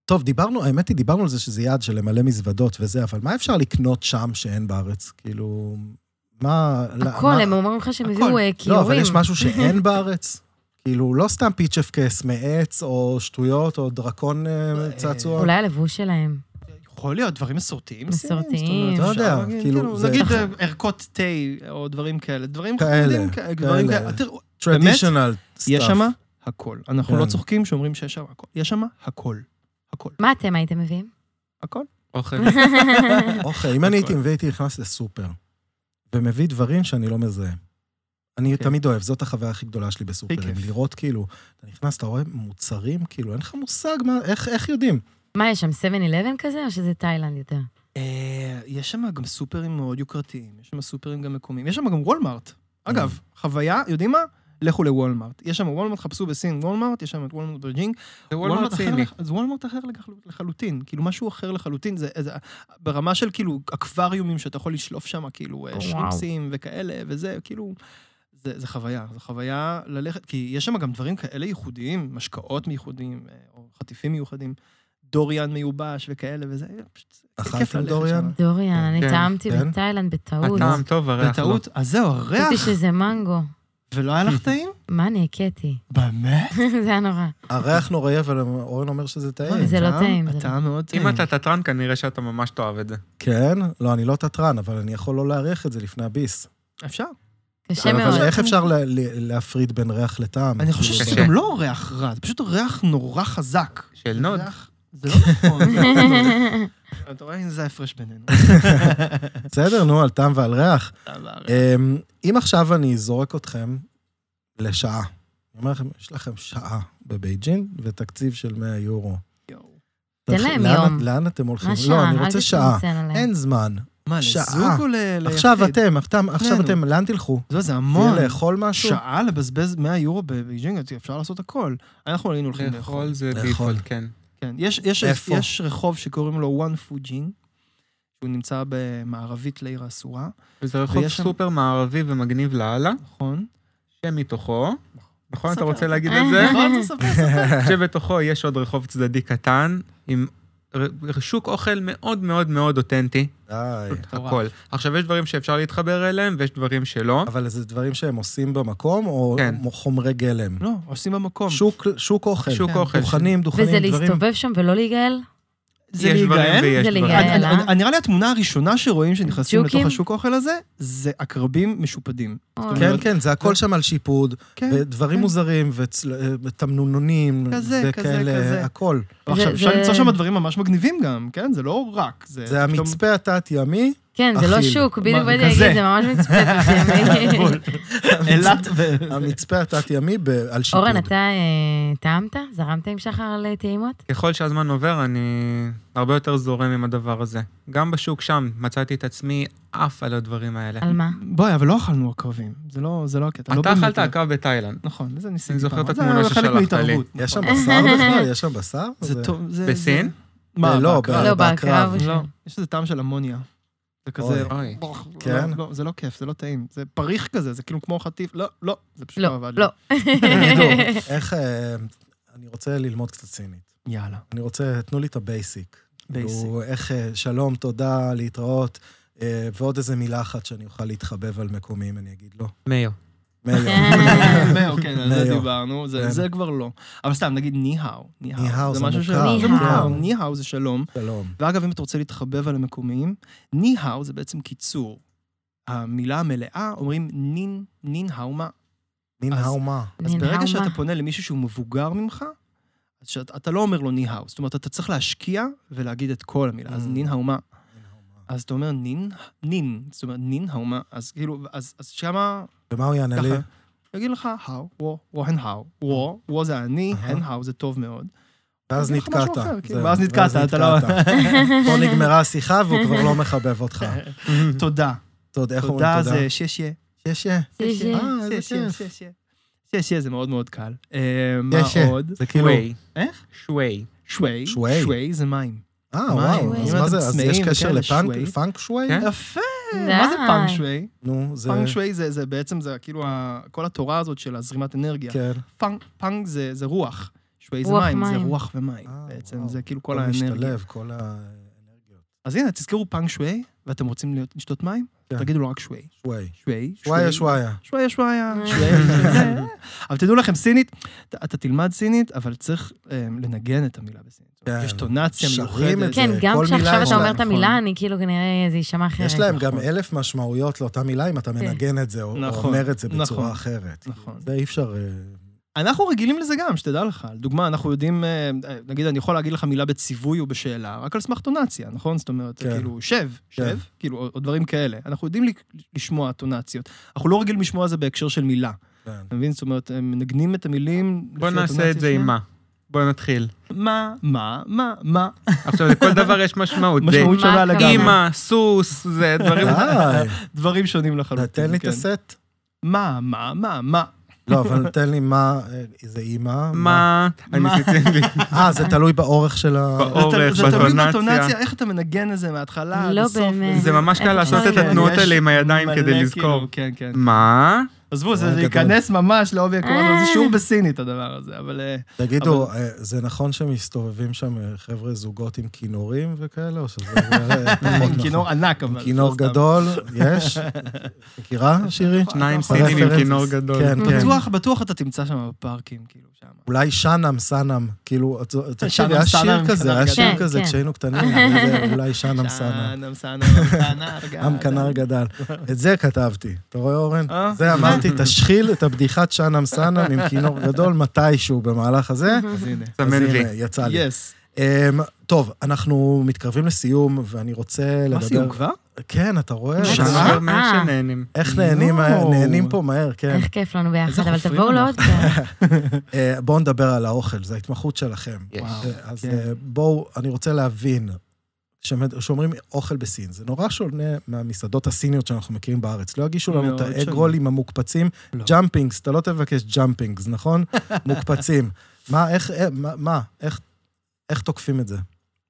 טוב, דיברנו, האמת היא, דיברנו על זה שזה יעד של למלא מזוודות וזה, אבל מה אפשר לקנות שם שאין בארץ? כאילו, מה... לא,
הכל,
מה-
הם אומרים לך שהם
הכל.
הביאו אה,
לא,
כיורים.
אבל יש משהו שאין בארץ? כאילו, לא סתם פיצ'ף קס מעץ, או שטויות, או דרקון אה, צעצוע.
אולי הלבוש שלהם.
יכול להיות, דברים מסורתיים.
מסורתיים.
סינים, זאת אומרת,
לא
אפשר
יודע,
להגיד,
כאילו, זה-
נגיד
נכון.
אה, ערכות תה, או דברים כאלה, דברים
כאלה,
חמודים כאלה, דברים
כאלה.
כאלה. תראו,
טרדישיונל סטאפ.
יש שם הכל. אנחנו
כן.
לא צוחקים שאומרים שיש שם הכל. יש שם הכל. הכל.
מה אתם הייתם מביאים?
הכל.
אוכל.
אוכל, אוקיי, אם אני הייתי מביא, הייתי נכנס לסופר, ומביא דברים שאני לא מזהה. אני
כן.
תמיד אוהב, זאת החוויה הכי גדולה שלי בסופרים,
כיף.
לראות כאילו, אתה נכנס, אתה רואה מוצרים, כאילו, אין לך מושג מה, איך, איך יודעים?
מה, יש שם 7-11 כזה, או שזה תאילנד יותר?
אה, יש שם גם סופרים מאוד יוקרתיים, יש שם סופרים גם מקומיים, יש שם גם וולמארט. אגב,
Mm.
חוויה, יודעים מה? לכו לוולמארט. יש שם וולמארט, חפשו בסין וולמארט, יש שם את וולמארט בג'ינג.
זה וולמרט
אחר
סיני.
לח- אז וולמארט אחר לח- לחלוטין, כאילו משהו אחר לחלוטין, זה איזה, ברמה של כאילו אקווריומים שאתה יכול לשלוף שם,
Oh,
כאילו אה,
וואו.
שרימפסים וכאלה וזה, כאילו, זה, זה חוויה, זו חוויה ללכת, כי יש שם גם דברים כאלה ייחודיים, משקאות מיוחדים, אה, או חטיפים מיוחדים, דוריאן מיובש וכאלה וזה, אה, פשוט כיף
אכלתם
ללכת
דוריאן?
שם.
דוריאן, אני
כן,
טעמתי
כן.
בתאילנד בטעות.
הטעם טוב, הריח לא.
בטעות, אז זהו, הריח,
חשבתי שזה מנגו.
ולא היה לך טעים?
מה, אני הכיתי.
באמת?
זה היה נורא.
הריח נוראי, אבל אורן אומר שזה טעים.
זה לא
הטעם-
טעים, זה לא-
הטעם מאוד טעים.
אם אתה תתרן, כנראה שאתה ממש תאהב את זה.
כן? לא, אני לא תתרן, אבל אני יכול לא להריח את זה לפני הביס.
אפשר.
קשה מאוד.
אבל איך אפשר ל- ל- להפריד בין ריח לטעם?
אני חושב
כאילו,
שזה
קשה.
גם לא ריח רע, זה פשוט ריח נורא חזק.
של נוד.
ריח- זה לא נכון. זה לא נכון. אתה רואה, הנה זה ההפרש בינינו.
בסדר, נו, על טעם ועל ריח.
אבל-
אמ, אם עכשיו אני זורק אתכם לשעה, אני אומר לכם, יש לכם שעה בבייג'ין ותקציב של 100 יורו.
יואו.
תן להם
לאן-
יום.
לאן אתם הולכים?
מה
לא,
שעה?
אני
אל
רוצה שעה.
תתנצל עליהם.
אין זמן.
מה,
שעה.
לזוג או ל-
לא
ליחיד?
עכשיו אתם, אתם- עכשיו
שנינו.
אתם, לאן תלכו?
זה- זה המון.
תהיה לאכול משהו?
שעה לבזבז 100 יורו בבייג'ינג, אפשר לעשות הכל. אנחנו היינו הולכים לאכול.
לאכול זה
לאכול.
דיפולט, כן.
כן. יש- יש-
איפה?
יש רחוב שקוראים לו וואן פוג'ינג, שהוא נמצא במערבית לעיר האסורה,
וזה רחוב
ויש שם-
סופר מערבי ומגניב לאללה,
נכון?
שמתוכו, נכון, אתה
ספר.
רוצה להגיד את זה?
נכון, זה ספר, ספר.
שבתוכו יש עוד רחוב צדדי קטן, עם ר- שוק אוכל מאוד מאוד מאוד אותנטי,
די.
הכל. עכשיו, יש דברים שאפשר להתחבר אליהם ויש דברים שלא.
אבל זה דברים שהם עושים במקום, או
כן.
חומרי גלם?
לא, עושים במקום.
שוק- שוק אוכל.
שוק
כן.
אוכל.
דוכנים, דוכנים,
וזה
דברים.
להסתובב שם ולא להיגאל?
זה
יש דברים
להיגאל.
ויש
זה
דברים.
אני-
להיגאל. אה?
אני- נראה לי התמונה הראשונה שרואים שנכנסים לתוך
ג'וקים?
השוק אוכל הזה, זה עקרבים משופדים.
אוי.
כן, כן, זה הכל שם על שיפוד,
כן.
ודברים
כן.
מוזרים, וצל- אה, ותמנונונים,
כזה, כזה,
וכאלה,
כזה.
הכל.
לא, עכשיו,
זה-
אפשר
זה-
למצוא שם דברים ממש מגניבים גם, כן? זה לא רק.
זה
פתאום-
המצפה התת-ימי,
כן, זה לא
אכיל.
שוק, בדיוק
מה,
באתי
כזה.
להגיד, זה ממש מצפה.
אילת ו...
המצפה התת-ימי ב- על שיפוד.
אורן, אתה אה, טעמת? זרמת עם שחר על אה, טעימות?
ככל שהזמן עובר, אני הרבה יותר זורם עם הדבר הזה. גם בשוק שם מצאתי את עצמי עף על הדברים האלה.
על מה?
בואי, אבל לא אכלנו עקרבים. זה לא זה לא הקטע. לא
אתה
באמת.
אכלת עקב בתאילנד.
נכון, וזה ניסיתי.
אני זוכר
פעם.
את
זה
התמונה
היה חלק
ששלחת לי.
מהתערבות,
יש שם
נכון.
בשר בכלל? יש שם בשר?
זה טוב. זה-
בסין?
זה- מה,
לא,
בהקרב?
לא,
בקרב.
בקרב.
לא, יש איזה טעם של אמוניה. זה כזה...
אוי.
כן.
לא, לא, זה לא כיף, זה לא טעים. זה פריך כזה, זה כאילו כמו חטיף. לא, לא, זה פשוט
לא,
לא עבד. לי.
לא.
איך... אה, אני רוצה ללמוד קצת סינית.
יאללה.
אני רוצה, תנו לי את הבייסיק.
בייסיק.
כאילו, איך, אה, שלום, תודה, להתראות, אה, ועוד איזה מילה אחת שאני אוכל להתחבב על מקומי, אם אני אגיד לו.
מאיר.
מאיר.
מאו, כן, על זה
מאו.
דיברנו, זה-
כן.
זה כבר לא. אבל סתם, נגיד ניהאו.
ניהאו זה מוכר.
משהו ש- זה
ניהאו.
מוכר, ניהאו זה שלום.
שלום.
ואגב, אם אתה רוצה להתחבב על המקומיים, ניהאו זה בעצם קיצור. המילה המלאה, אומרים נין, נין האומה.
נין
אז-
האו מה?
אז
נין
ברגע
האומה.
שאתה פונה למישהו שהוא מבוגר ממך, אז שאת- אתה לא אומר לו ניהאו. זאת אומרת, אתה צריך להשקיע ולהגיד את כל המילה. אז
Mm.
נין האומה. אז אתה אומר נין, נין, זאת אומרת נין האומה, אז כאילו, אז אז שמה
ומה הוא יענה לי?
ככה. יגיד לך, האו, וו, וו, הן האו. וו, וו זה אני,
אהה.
הן האו זה טוב מאוד.
ואז
אני אגיד לך משהו
נתקעת.
אחר, כן.
זהו,
ואז נתקעת, אתה לא-
נתקעת. פה נגמרה השיחה והוא כבר לא מחבב אותך.
תודה.
אתה יודע איך אומרים
תודה
תודה?
זה ששיה.
יש, יש.
יש, יש.
אה, איזה
ששיה,
כיף.
ששיה. ששיה זה מאוד מאוד קל. אה, מה
ששיה.
עוד?
זה כאילו...
שווי.
איך?
שווי.
שווי.
שווי.
שווי זה מים.
אה,
מה,
וואו,
אם
אז
אתם
מה זה, אז יש
צמאים
קשר
וכאלה,
לפאנק-
שווי?
פאנק שווי?
כן.
יפה. מה זה פאנק
די.
שווי?
נו, אה? זה...
פאנק שווי זה זה בעצם, זה כאילו ה- כל התורה הזאת של הזרימת אנרגיה.
כן.
פאנק- פאנק זה זה רוח. שווי זה
רוח
מים, זה
מים.
רוח ומים.
אה,
בעצם
וואו.
זה כאילו כל
כל
האנרגיה.
משתלב, כל האנרגיות.
אז הנה, תזכרו פאנק שווי, ואתם רוצים להיות- לשתות מים?
כן.
תגידו לו רק שווי.
שווי.
שווי.
שוויה, שוויה.
שוואיה שוואיה.
אה.
שוואיה, זה. אבל תדעו לכם, סינית, אתה- אתה תלמד סינית, אבל צריך אה, לנגן את המילה בסינית.
כן.
יש טונציה
שרים את
מיוחדת.
זה.
כן, גם
כל מילה
כשעכשיו
יש
אתה אומר
להם,
את המילה, אני כאילו כנראה זה יישמע אחרת.
יש להם
נכון. כן.
גם אלף משמעויות לאותה מילה אם אתה מנגן את זה, או או
נכון,
אומר את זה
נכון.
בצורה אחרת.
נכון.
זה אי אפשר... אה,
אנחנו רגילים לזה גם, שתדע לך. לדוגמה, אנחנו יודעים, אה, נגיד, אני יכול להגיד לך מילה בציווי או בשאלה, רק על סמך טונציה, נכון? זאת אומרת,
כן.
כאילו, שב, שב,
כן.
כאילו, או, או דברים כאלה. אנחנו יודעים ל- לשמוע טונציות. אנחנו לא רגילים לשמוע זה בהקשר של מילה.
כן.
אתה מבין? זאת אומרת, הם מנגנים את המילים...
בוא
לפי
נעשה
הטונציה
את זה עם
שלהם.
מה. בוא נתחיל.
מה, מה, מה, מה.
עכשיו, לכל דבר יש משמעות. זה
משמעות
מה
שונה
הכוונה?
לגמרי.
אימא, סוס, זה דברים...
די,
דברים שונים לחלוטין.
תן אה, לי את
כן.
הסט.
מה, מה, מה, מה.
לא, אבל תן לי מה, אה, זה אימא.
מה? אני
מה?
ניסיתי...
אה, זה תלוי באורך של ה...
באור-
זה
אורך,
תל- זה תלוי
בטונציה.
בטונציה, איך אתה מנגן את זה מההתחלה,
לא
עד הסוף.
באמת.
זה ממש קל
איך
לעשות
אפשר
את התנועות
יש
האלה עם הידיים
מלא,
כדי
כאילו,
לזכור.
כן, כן.
מה?
עזבו, זה
וואי,
זה
גדול.
ייכנס ממש לעובי הקורונה,
אה.
זה שיעור בסינית הדבר הזה, אבל... אה,
תגידו, אה, זה נכון שמסתובבים שם אה, חבר'ה זוגות עם כינורים וכאלה, או שזה אה, פחות
עם
נכון?
כינור ענק, אבל...
כינור
לא סתם.
גדול, יש? מכירה, שירי?
שניים
נכון.
סינים עם
רפרנס.
כינור גדול.
כן, כן.
בטוח, בטוח אתה תמצא שם בפארקים, כאילו, שם.
אולי שאנם סאנם, כאילו, את- את-
שאנם
תקשיבי, היה
סאנם,
שיר כזה, היה
כן,
שיר כזה
כן.
כשהיינו קטנים, אבל זה אולי שאנם סאנם.
שאנם, סאנם, אמקנר, גל.
עם כנר גדל. את זה כתבתי, אתה רואה אורן?
אה?
זה אמרתי, תשחיל את הבדיחת שאנם סאנם עם כינור גדול מתישהו במהלך הזה.
אז הנה.
אז
סמן וי.
הנה, יצא לי.
יס.
אמ, טוב, אנחנו מתקרבים לסיום, ואני רוצה לדבר...
מה סיום כבר?
כן, אתה רואה?
שנה?
אתה
שנה
רואה?
מהר
אה.
שנהנים.
איך נהנים
יואו.
נהנים פה מהר, כן.
איך כיף לנו
איזה
ביחד, אבל
חופרים
תבואו לעוד פעם.
אה, בואו נדבר על האוכל, זו ההתמחות שלכם.
וואו.
אה, אז
כן.
אה, בואו, אני רוצה להבין, שמד- שאומרים אוכל בסין, זה נורא שונה מהמסעדות הסיניות שאנחנו מכירים בארץ. לא יגישו לנו את
מאוד
האג
שונה.
רולים המוקפצים,
לא.
ג'אמפינגס, אתה לא תבקש ג'אמפינגס, נכון? מוקפצים. מה, איך, אה, מה- מה, איך... איך תוקפים את זה?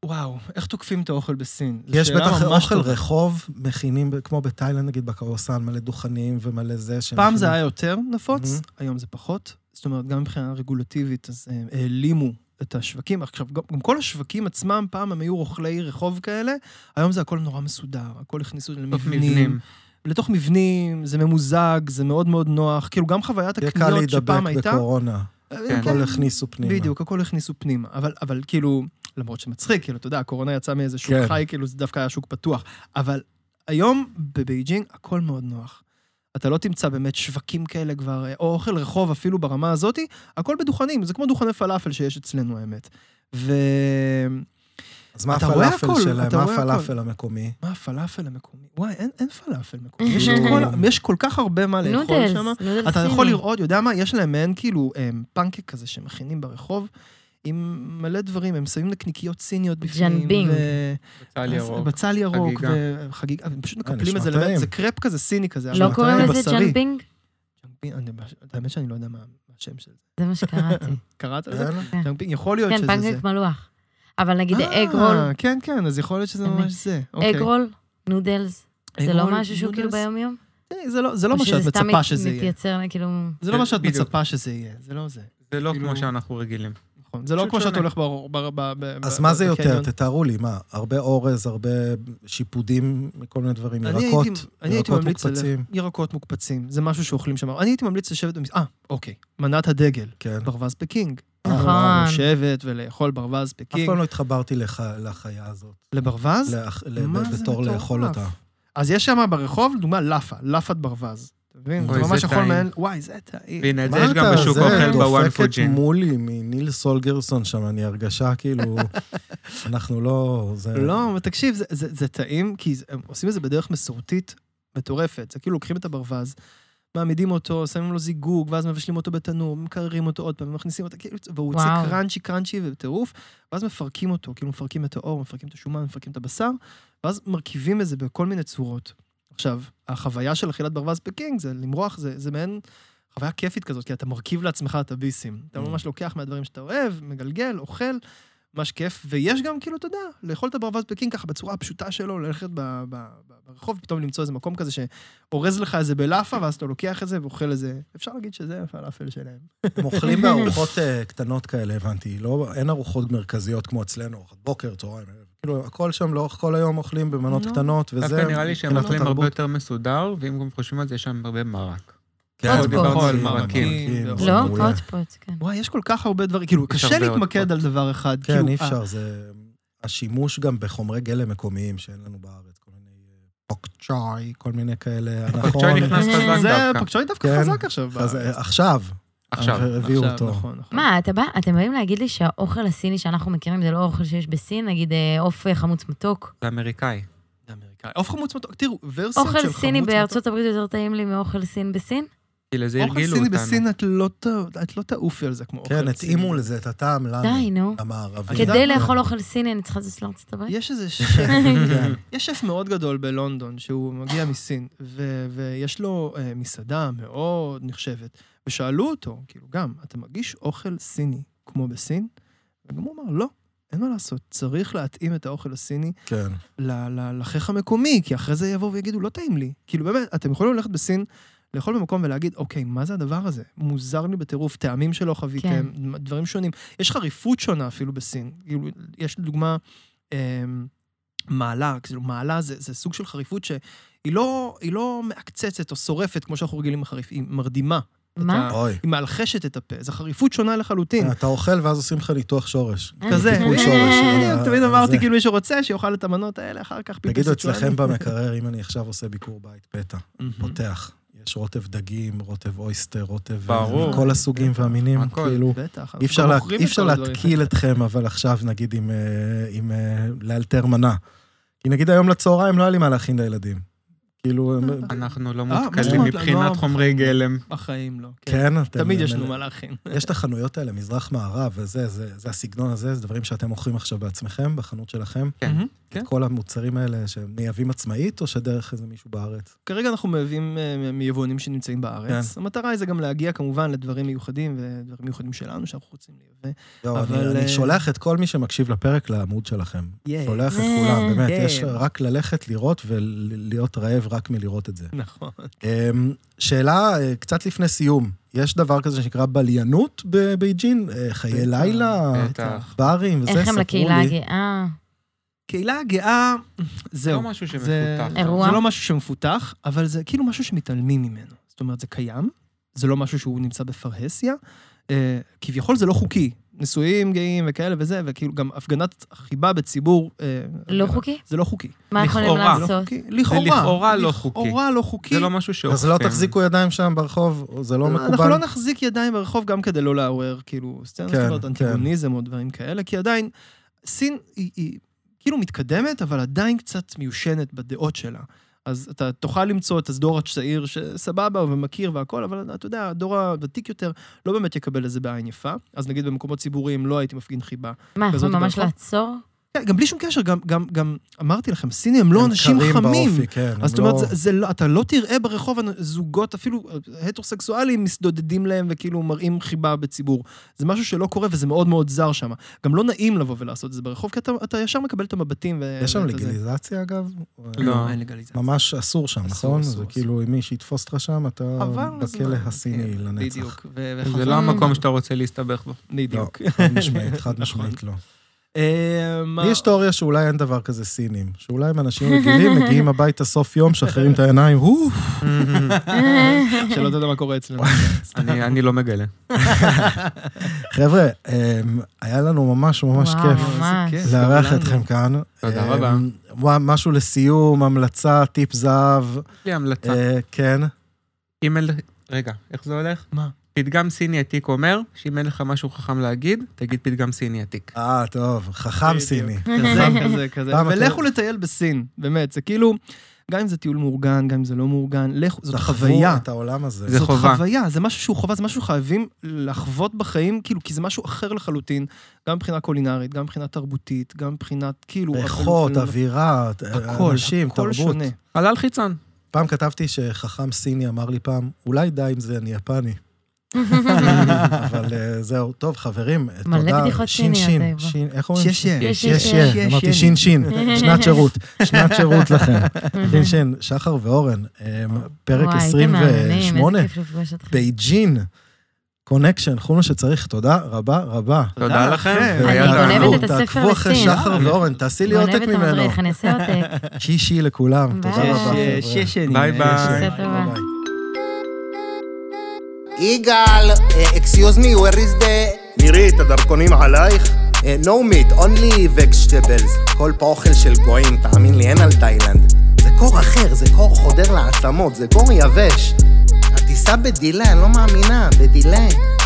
וואו, איך תוקפים את האוכל בסין? זו
יש
שאלה
בטח
ממש
אוכל
טובה.
רחוב, מכינים, ב- כמו בתאילנד נגיד בקרוסן, מלא דוכנים ומלא זה.
פעם
שמכינים.
זה היה יותר נפוץ,
מהמם.
היום זה פחות. זאת אומרת, גם מבחינה רגולטיבית, אז הם העלימו את השווקים. עכשיו, גם גם כל השווקים עצמם, פעם הם היו רוכלי רחוב כאלה, היום זה הכל נורא מסודר, הכל הכניסו
בסוף
למבנים.
מבנים.
לתוך מבנים, זה ממוזג, זה מאוד מאוד נוח. כאילו, גם חוויית
יהיה קל
הקניות
להידבק
שפעם הייתה...
בקורונה.
כן.
הכל הכניסו פנימה.
בדיוק, הכל הכניסו פנימה. אבל, אבל כאילו, למרות שמצחיק, כאילו, אתה יודע, הקורונה יצאה מאיזה שוק
כן.
חי, כאילו, זה דווקא היה שוק פתוח. אבל היום בבייג'ינג הכל מאוד נוח. אתה לא תמצא באמת שווקים כאלה כבר, אה, או אוכל רחוב אפילו ברמה הזאתי, הכל בדוכנים, זה כמו דוכני פלאפל שיש אצלנו, האמת. ומה
אז מה
אתה רואה
הפלאפל
הכל,
שלהם?
אתה
מה
רואה הכל.
הפלאפל המקומי?
הפלאפל המקומי? וואי, אין, אין פלאפל מקומי. יש,
כאילו-
כל, יש כל כך הרבה מה לאכול שם.
נודלס, נודלס
אתה
סיני.
יכול לראות, יודע מה, יש להם מעין כאילו אמ, פנקק כזה שמכינים ברחוב, עם מלא דברים, הם שמים נקניקיות סיניות בפנים.
ג'נבינג.
ו-
בצל ירוק.
בצל ירוק,
חגיגה.
וחגיגה, הם פשוט
אה,
מקפלים את זה,
נשמע
לבד,
טעים.
זה קרפ כזה סיני כזה.
לא
אבל
קוראים
טעים,
לזה
בשרי.
ג'נבינג?
ג'נבינג, אני- האמת שאני לא יודע מה מה השם של זה.
זה מה שקראתי.
קראת על זה?
כן?
ג'נבינג, יכול להיות
אה. כן,
שזה זה.
פנקק מלוח. אבל נגיד
אה,
אג רול,
כן, כן, אז יכול להיות שזה
באמת.
ממש זה. אוקיי.
אג רול, נודלס, זה
אג
לא
רול,
משהו שהוא כאילו
נודלס?
ביום-יום?
אה, זה לא- זה לא
או
מה שאת
שזה סתם
מצפה
מת-
שזה יהיה.
מתייצר, כאילו...
זה לא מה שאת
בדיוק.
מצפה שזה יהיה, זה לא זה.
זה לא
כאילו-
כמו שאנחנו רגילים.
נכון. זה לא
פשוט
כמו שאתה
שונה.
הולך ברור- ב... ב- ב-
אז
ב-
מה זה יותר?
בקניון.
תתארו לי, מה? הרבה אורז, הרבה שיפודים מכל מיני דברים,
אני
ירקות,
הייתי- אני הייתי
ירקות
ממליץ על
מוקפצים.
ירקות מוקפצים, זה משהו שאוכלים שם. אני הייתי ממליץ לשבת במס... אה, אוקיי, מנת הדגל,
כן.
ברווז פקינג.
נכון.
לשבת ולאכול ברווז
אה, אף
פקינג.
פעם לא התחברתי לח- לחיה הזאת,
לברווז?
לאח-
מה זה
בתור
מטורף?
לאכול אותה.
אז יש שם ברחוב, לדוגמה, לאפה, לאפת ברווז. אתה מבין?
אוי,
זה ממש
זה
יכול
טעים.
מעין... וואי, זה טעים.
והנה, את זה
מה
יש גם
אתה-
בשוק
זה
האוכל בוואן
דופקת
פוג'ין.
מולי מניל סולגרסון שם, אני הרגשה כאילו, אנחנו לא... זה-
לא, אבל תקשיב, זה, זה, זה טעים, כי זה, הם עושים את זה בדרך מסורתית מטורפת. זה כאילו לוקחים את הברווז, מעמידים אותו, שמים לו זיגוג, ואז מבשלים אותו בתנור, מקררים אותו עוד פעם, מכניסים אותו, כאילו, והוא יוצא
וואו.
קראנצ'י קראנצ'י ובטירוף, ואז מפרקים אותו, כאילו מפרקים את האור, מפרקים את השומן, מפרקים את הבשר, ואז מרכיבים את זה בכל מיני צורות. עכשיו, החוויה של אכילת ברווז פקינג, זה למרוח, זה, זה מעין... חוויה כיפית כזאת, כי אתה מרכיב לעצמך את הביסים. אתה ממש לוקח מהדברים שאתה אוהב, מגלגל, אוכל, ממש כיף. ויש גם, כאילו, אתה יודע, לאכול את הברווז פקינג ככה בצורה הפשוטה שלו, ללכת ב- ב- ב- ברחוב, פתאום למצוא איזה מקום כזה שאורז לך איזה בלאפה, ואז אתה לוקח את זה ואוכל את זה. אפשר להגיד שזה הפלאפל שלהם.
הם אוכלים בארוחות אה, קטנות כאלה, הבנתי. לא, אין ארוחות מרכזיות כמו אצלנו, ארוחת בוקר, צהריים. ערב. כאילו, הכל שם לאורך כל היום אוכלים במנות
לא.
קטנות, וזה...
דווקא נראה לי שהם
מבחינת
אוכלים הרבה
התרבות.
יותר מסודר, ואם גם חושבים על זה, יש שם הרבה מרק.
כן,
עוד
דיברנו
פוט.
על
מרקים, כאילו.
מרקים,
לא,
זה
לא,
מעולה.
עוד פוט, כן.
וואי, יש כל כך הרבה דברים, כאילו,
יש
קשה
הרבה עוד
להתמקד
פה.
על דבר אחד.
כן,
כאילו,
אי
אה,
אפשר, זה... השימוש גם בחומרי גלם מקומיים שאין לנו בארץ, כל מיני אה, פוק צ'אי, כל מיני כאלה,
פקצ'וי
נכון.
נכנס
זה-
חזק
אה, זה
דווקא.
פקצ'וי דווקא
כן.
חזק עכשיו.
אז
בארץ.
אה, עכשיו,
עכשיו.
הביאו
עכשיו,
אותו.
נכון, נכון.
מה, אתה בא, אתם באים להגיד לי שהאוכל הסיני שאנחנו מכירים זה לא אוכל שיש בסין? נגיד אה, עוף אה, חמוץ מתוק?
זה אמריקאי.
זה אמריקאי. עוף חמוץ מתוק, תראו, ורסיות של חמוץ
אוכל
מתוק.
סיני בארצות הברית יותר טעים לי מאוכל סין בסין?
כאילו, זה
אוכל
הרגילו
סיני
אותנו.
בסין, את לא ת- את לא תעופי על זה כמו אוכל סיני.
כן, התאימו לזה את הטעם לנו, כן.
די, נו.
למערבים.
יודעת
כדי
מה?
לאכול אוכל סיני אני צריכה לטוס לארצות הברית?
יש איזה שף, יש שף מאוד גדול בלונדון, שהוא מגיע מסין, ו- ויש לו אה, מסעדה מאוד נחשבת, ושאלו אותו, כאילו, גם, אתה מגיש אוכל סיני כמו בסין? וגם הוא אמר, לא, אין מה לעשות, צריך להתאים את האוכל הסיני
כן.
ל- ל- לחייך המקומי, כי אחרי זה יבואו ויגידו, לא טעים לי. כאילו, באמת, אתם יכולים ללכת בסין, לאכול במקום ולהגיד, אוקיי, מה זה הדבר הזה? מוזר לי בטירוף, טעמים שלא חוויתם, דברים שונים. יש חריפות שונה אפילו בסין. כאילו, יש לדוגמה, אמ, מעלה, כאילו, מעלה זה, זה סוג של חריפות שהיא לא, היא לא מעקצצת או שורפת, כמו שאנחנו רגילים לחריף, היא מרדימה.
מה?
אתה-
אוי.
היא מאלחשת את הפה, זו חריפות שונה לחלוטין.
אה, אתה אוכל ואז עושים לך ניתוח שורש.
כזה.
טיפול שורש.
אה, תמיד
אה,
אמרתי,
זה.
כאילו, מי שרוצה, שיאכל את המנות האלה אחר כך. פיפי
תגידו
סיצואני.
אצלכם במקרר, אם אני עכשיו עושה ביקור בית פתע,
מהמם.
פותח, יש רוטב דגים, רוטב אויסטר, רוטב... אה,
ברור.
כל הסוגים והמינים,
הכל.
כאילו...
בטח.
אי אפשר
אנחנו
לה-
מוכרים
אי
את
אפשר
כל הדברים.
להתקיל אתכם, אבל עכשיו נגיד עם... אה, עם אה, לאלתר מנה. כי נגיד היום לצהריים לא היה לי מה להכין לילדים. כאילו,
אה,
הם-
אנחנו לא
מה זאת
מותקלים
אומרת? לא,
מבחינת חומרי גלם.
בחיים לא. כן.
כן, אתם...
תמיד יש לנו מה להכין.
יש את החנויות האלה, מזרח-מערב וזה, זה זה הסגנון הזה, זה דברים שאתם מוכרים עכשיו בעצמכם, בחנות שלכם.
כן.
מהמם, כן.
כל המוצרים האלה שמייבאים עצמאית, או שדרך איזה מישהו בארץ?
כרגע אנחנו מייבאים אה, מיבואנים שנמצאים בארץ.
כן.
המטרה היא זה גם להגיע כמובן לדברים מיוחדים ודברים מיוחדים שלנו שאנחנו רוצים לייבא.
לא,
אבל,
אני,
אה,
אני שולח את כל מי שמקשיב לפרק לעמוד שלכם.
ייי.
שולח את
אה,
כולם, באמת,
כן.
יש רק ללכת לראות ולהיות רעב רק מלראות את זה.
נכון.
אמ, שאלה אה, קצת לפני סיום, יש דבר כזה שנקרא בליינות בבייג'ין? אה, חיי
בטח,
לילה,
בטח.
ברים, וזה,
איך הם
ספרו
לקהילה אה,
לי.
הגאה?
קהילה הגאה, זהו.
לא משהו
זה-
שמפותח.
אירוע.
זה לא משהו שמפותח, אבל זה כאילו משהו שמתעלמים ממנו. זאת אומרת, זה קיים, זה לא משהו שהוא נמצא בפרהסיה. אה, כביכול זה לא חוקי. נשואים גאים וכאלה וזה, וכאילו גם הפגנת חיבה בציבור... אה,
לא חוקי? אה.
זה לא חוקי.
מה יכולים
לכאורה,
זה לא
לעשות?
חוקי.
זה לכאורה לא
לכאורה לא חוקי.
זה לא משהו שאוכפים.
אז לא תחזיקו ידיים שם ברחוב, זה לא
אנחנו
מקובל.
לא נחזיק ידיים ברחוב גם כדי לא לעורר, כאילו, סצנה,
כן,
זאת אומרת,
כן.
אנטיגוניזם או דברים כאלה, כי עדיין, סין היא, היא כאילו מתקדמת, אבל עדיין קצת מיושנת בדעות שלה. אז אתה תוכל למצוא את הדור הצעיר שסבבה ומכיר והכל, אבל אתה יודע, הדור הוותיק יותר לא באמת יקבל את זה בעין יפה. אז נגיד במקומות ציבוריים לא הייתי מפגין חיבה.
מה,
כזאת
יכולים ממש
ברחוב?
לעצור?
כן, גם בלי שום קשר, גם, גם, גם אמרתי לכם, סינים הם לא
הם
אנשים
קרים
חמים.
באופי, כן, הם
אז זאת אומרת,
לא-
זה, זה, לא- אתה לא תראה ברחוב אנ- זוגות, אפילו אה, הטרוסקסואלים, מסדודדים להם וכאילו מראים חיבה בציבור. זה משהו שלא קורה וזה מאוד מאוד זר שם. גם לא נעים לבוא ולעשות את זה ברחוב, כי אתה, אתה ישר מקבל את המבטים. ו...
יש שם
ואת הזה.
לגיליזציה, אגב?
לא.
לא, אין לגליזציה.
ממש אסור שם,
אסור,
נכון? זה
אסור, אסור.
כאילו, אם מי שיתפוס אותך שם, אתה
אבל
בכלא
אז-
הסיני
כן,
לנצח.
בדיוק. ו-
זה לא
וחבל.
המקום שאתה רוצה להסתבך בו.
לא,
בדיוק.
חד משמעית, חד
נכון.
משמעית לא.
אה, מה-
לי יש תיאוריה שאולי אין דבר כזה סינים. שאולי אם אנשים רגילים מגיעים הביתה סוף יום, שחררים את העיניים, "הו,
שלא תדע מה קורה אצלנו.
אני אני לא מגלה.
חבר'ה, אמ, היה לנו ממש ממש
וואו,
כיף
ממש.
איזה כיף,
לארח
גם לנו.
אתכם כאן.
תודה
אמ,
רבה.
וואו, משהו לסיום, המלצה, טיפ זהב,
יש לי המלצה.
אה, כן.
אימייל... רגע, איך זה הולך?
מה?
פתגם סיני עתיק אומר, שאם אין לך משהו חכם להגיד, תגיד פתגם סיני עתיק.
אה, טוב, חכם
בדיוק.
סיני.
כזה, כזה, כזה.
למה,
ולכו
כן?
לטייל בסין, באמת, זה כאילו, גם אם זה טיול מאורגן, גם אם זה לא מאורגן, לכו, זאת
תחוו
חוויה.
את העולם הזה.
זה
זאת
חובה.
חוויה, זה משהו שהוא חובה, זה משהו שחייבים לחוות בחיים, כאילו, כי זה משהו אחר לחלוטין, גם מבחינה קולינרית, גם מבחינה תרבותית, גם מבחינת, כאילו...
ריחות,
אפילו-
אווירה,
הכל,
אנשים,
הכל
תרבות.
שונה.
חלל חיצון.
פעם כתבתי שחכם סיני אמר לי פעם, אולי די עם זה, אני יפני. אבל אה, זהו, טוב, חברים, אה,
מלא
תודה.
בדיחות
שין,
סיניות,
שין,
איבו.
שין, איך אומרים?
שיש יש.
יש,
יש, יש, אמרתי שין, שין, שנת שירות, שנת שירות לכם. שין, שין, שחר ואורן, אה, פרק
וואי, הייתם מהממים,
28,
איזה כיף לפגוש אתכם.
בייג'ין, קונקשן, כל מה שצריך, תודה רבה רבה.
תודה לכם.
לכם.
והיה
אני
תענוג.
גונבת את הספר
תעקבו אחרי
לסין.
שחר ואורן, תעשי לי עותק
גונבת
ממנו.
המדריך, אני אעשה עותק.
שישי לכולם, תודה
ביי.
רבה. חבר'ה.
יש, יש, יש. אני-
ביי ביי.
עושה טובה.
ביי.
יגאל, אקסיוז מי, where is the...
מירי, את הדרכונים עלייך?
אה, No meat, only vegetables. כל פה אוכל של גויים, תאמין לי, אין על תאילנד. זה קור אחר, זה קור חודר לעצמות, זה קור יבש. הטיסה בדילה, אני לא מאמינה, בדילה.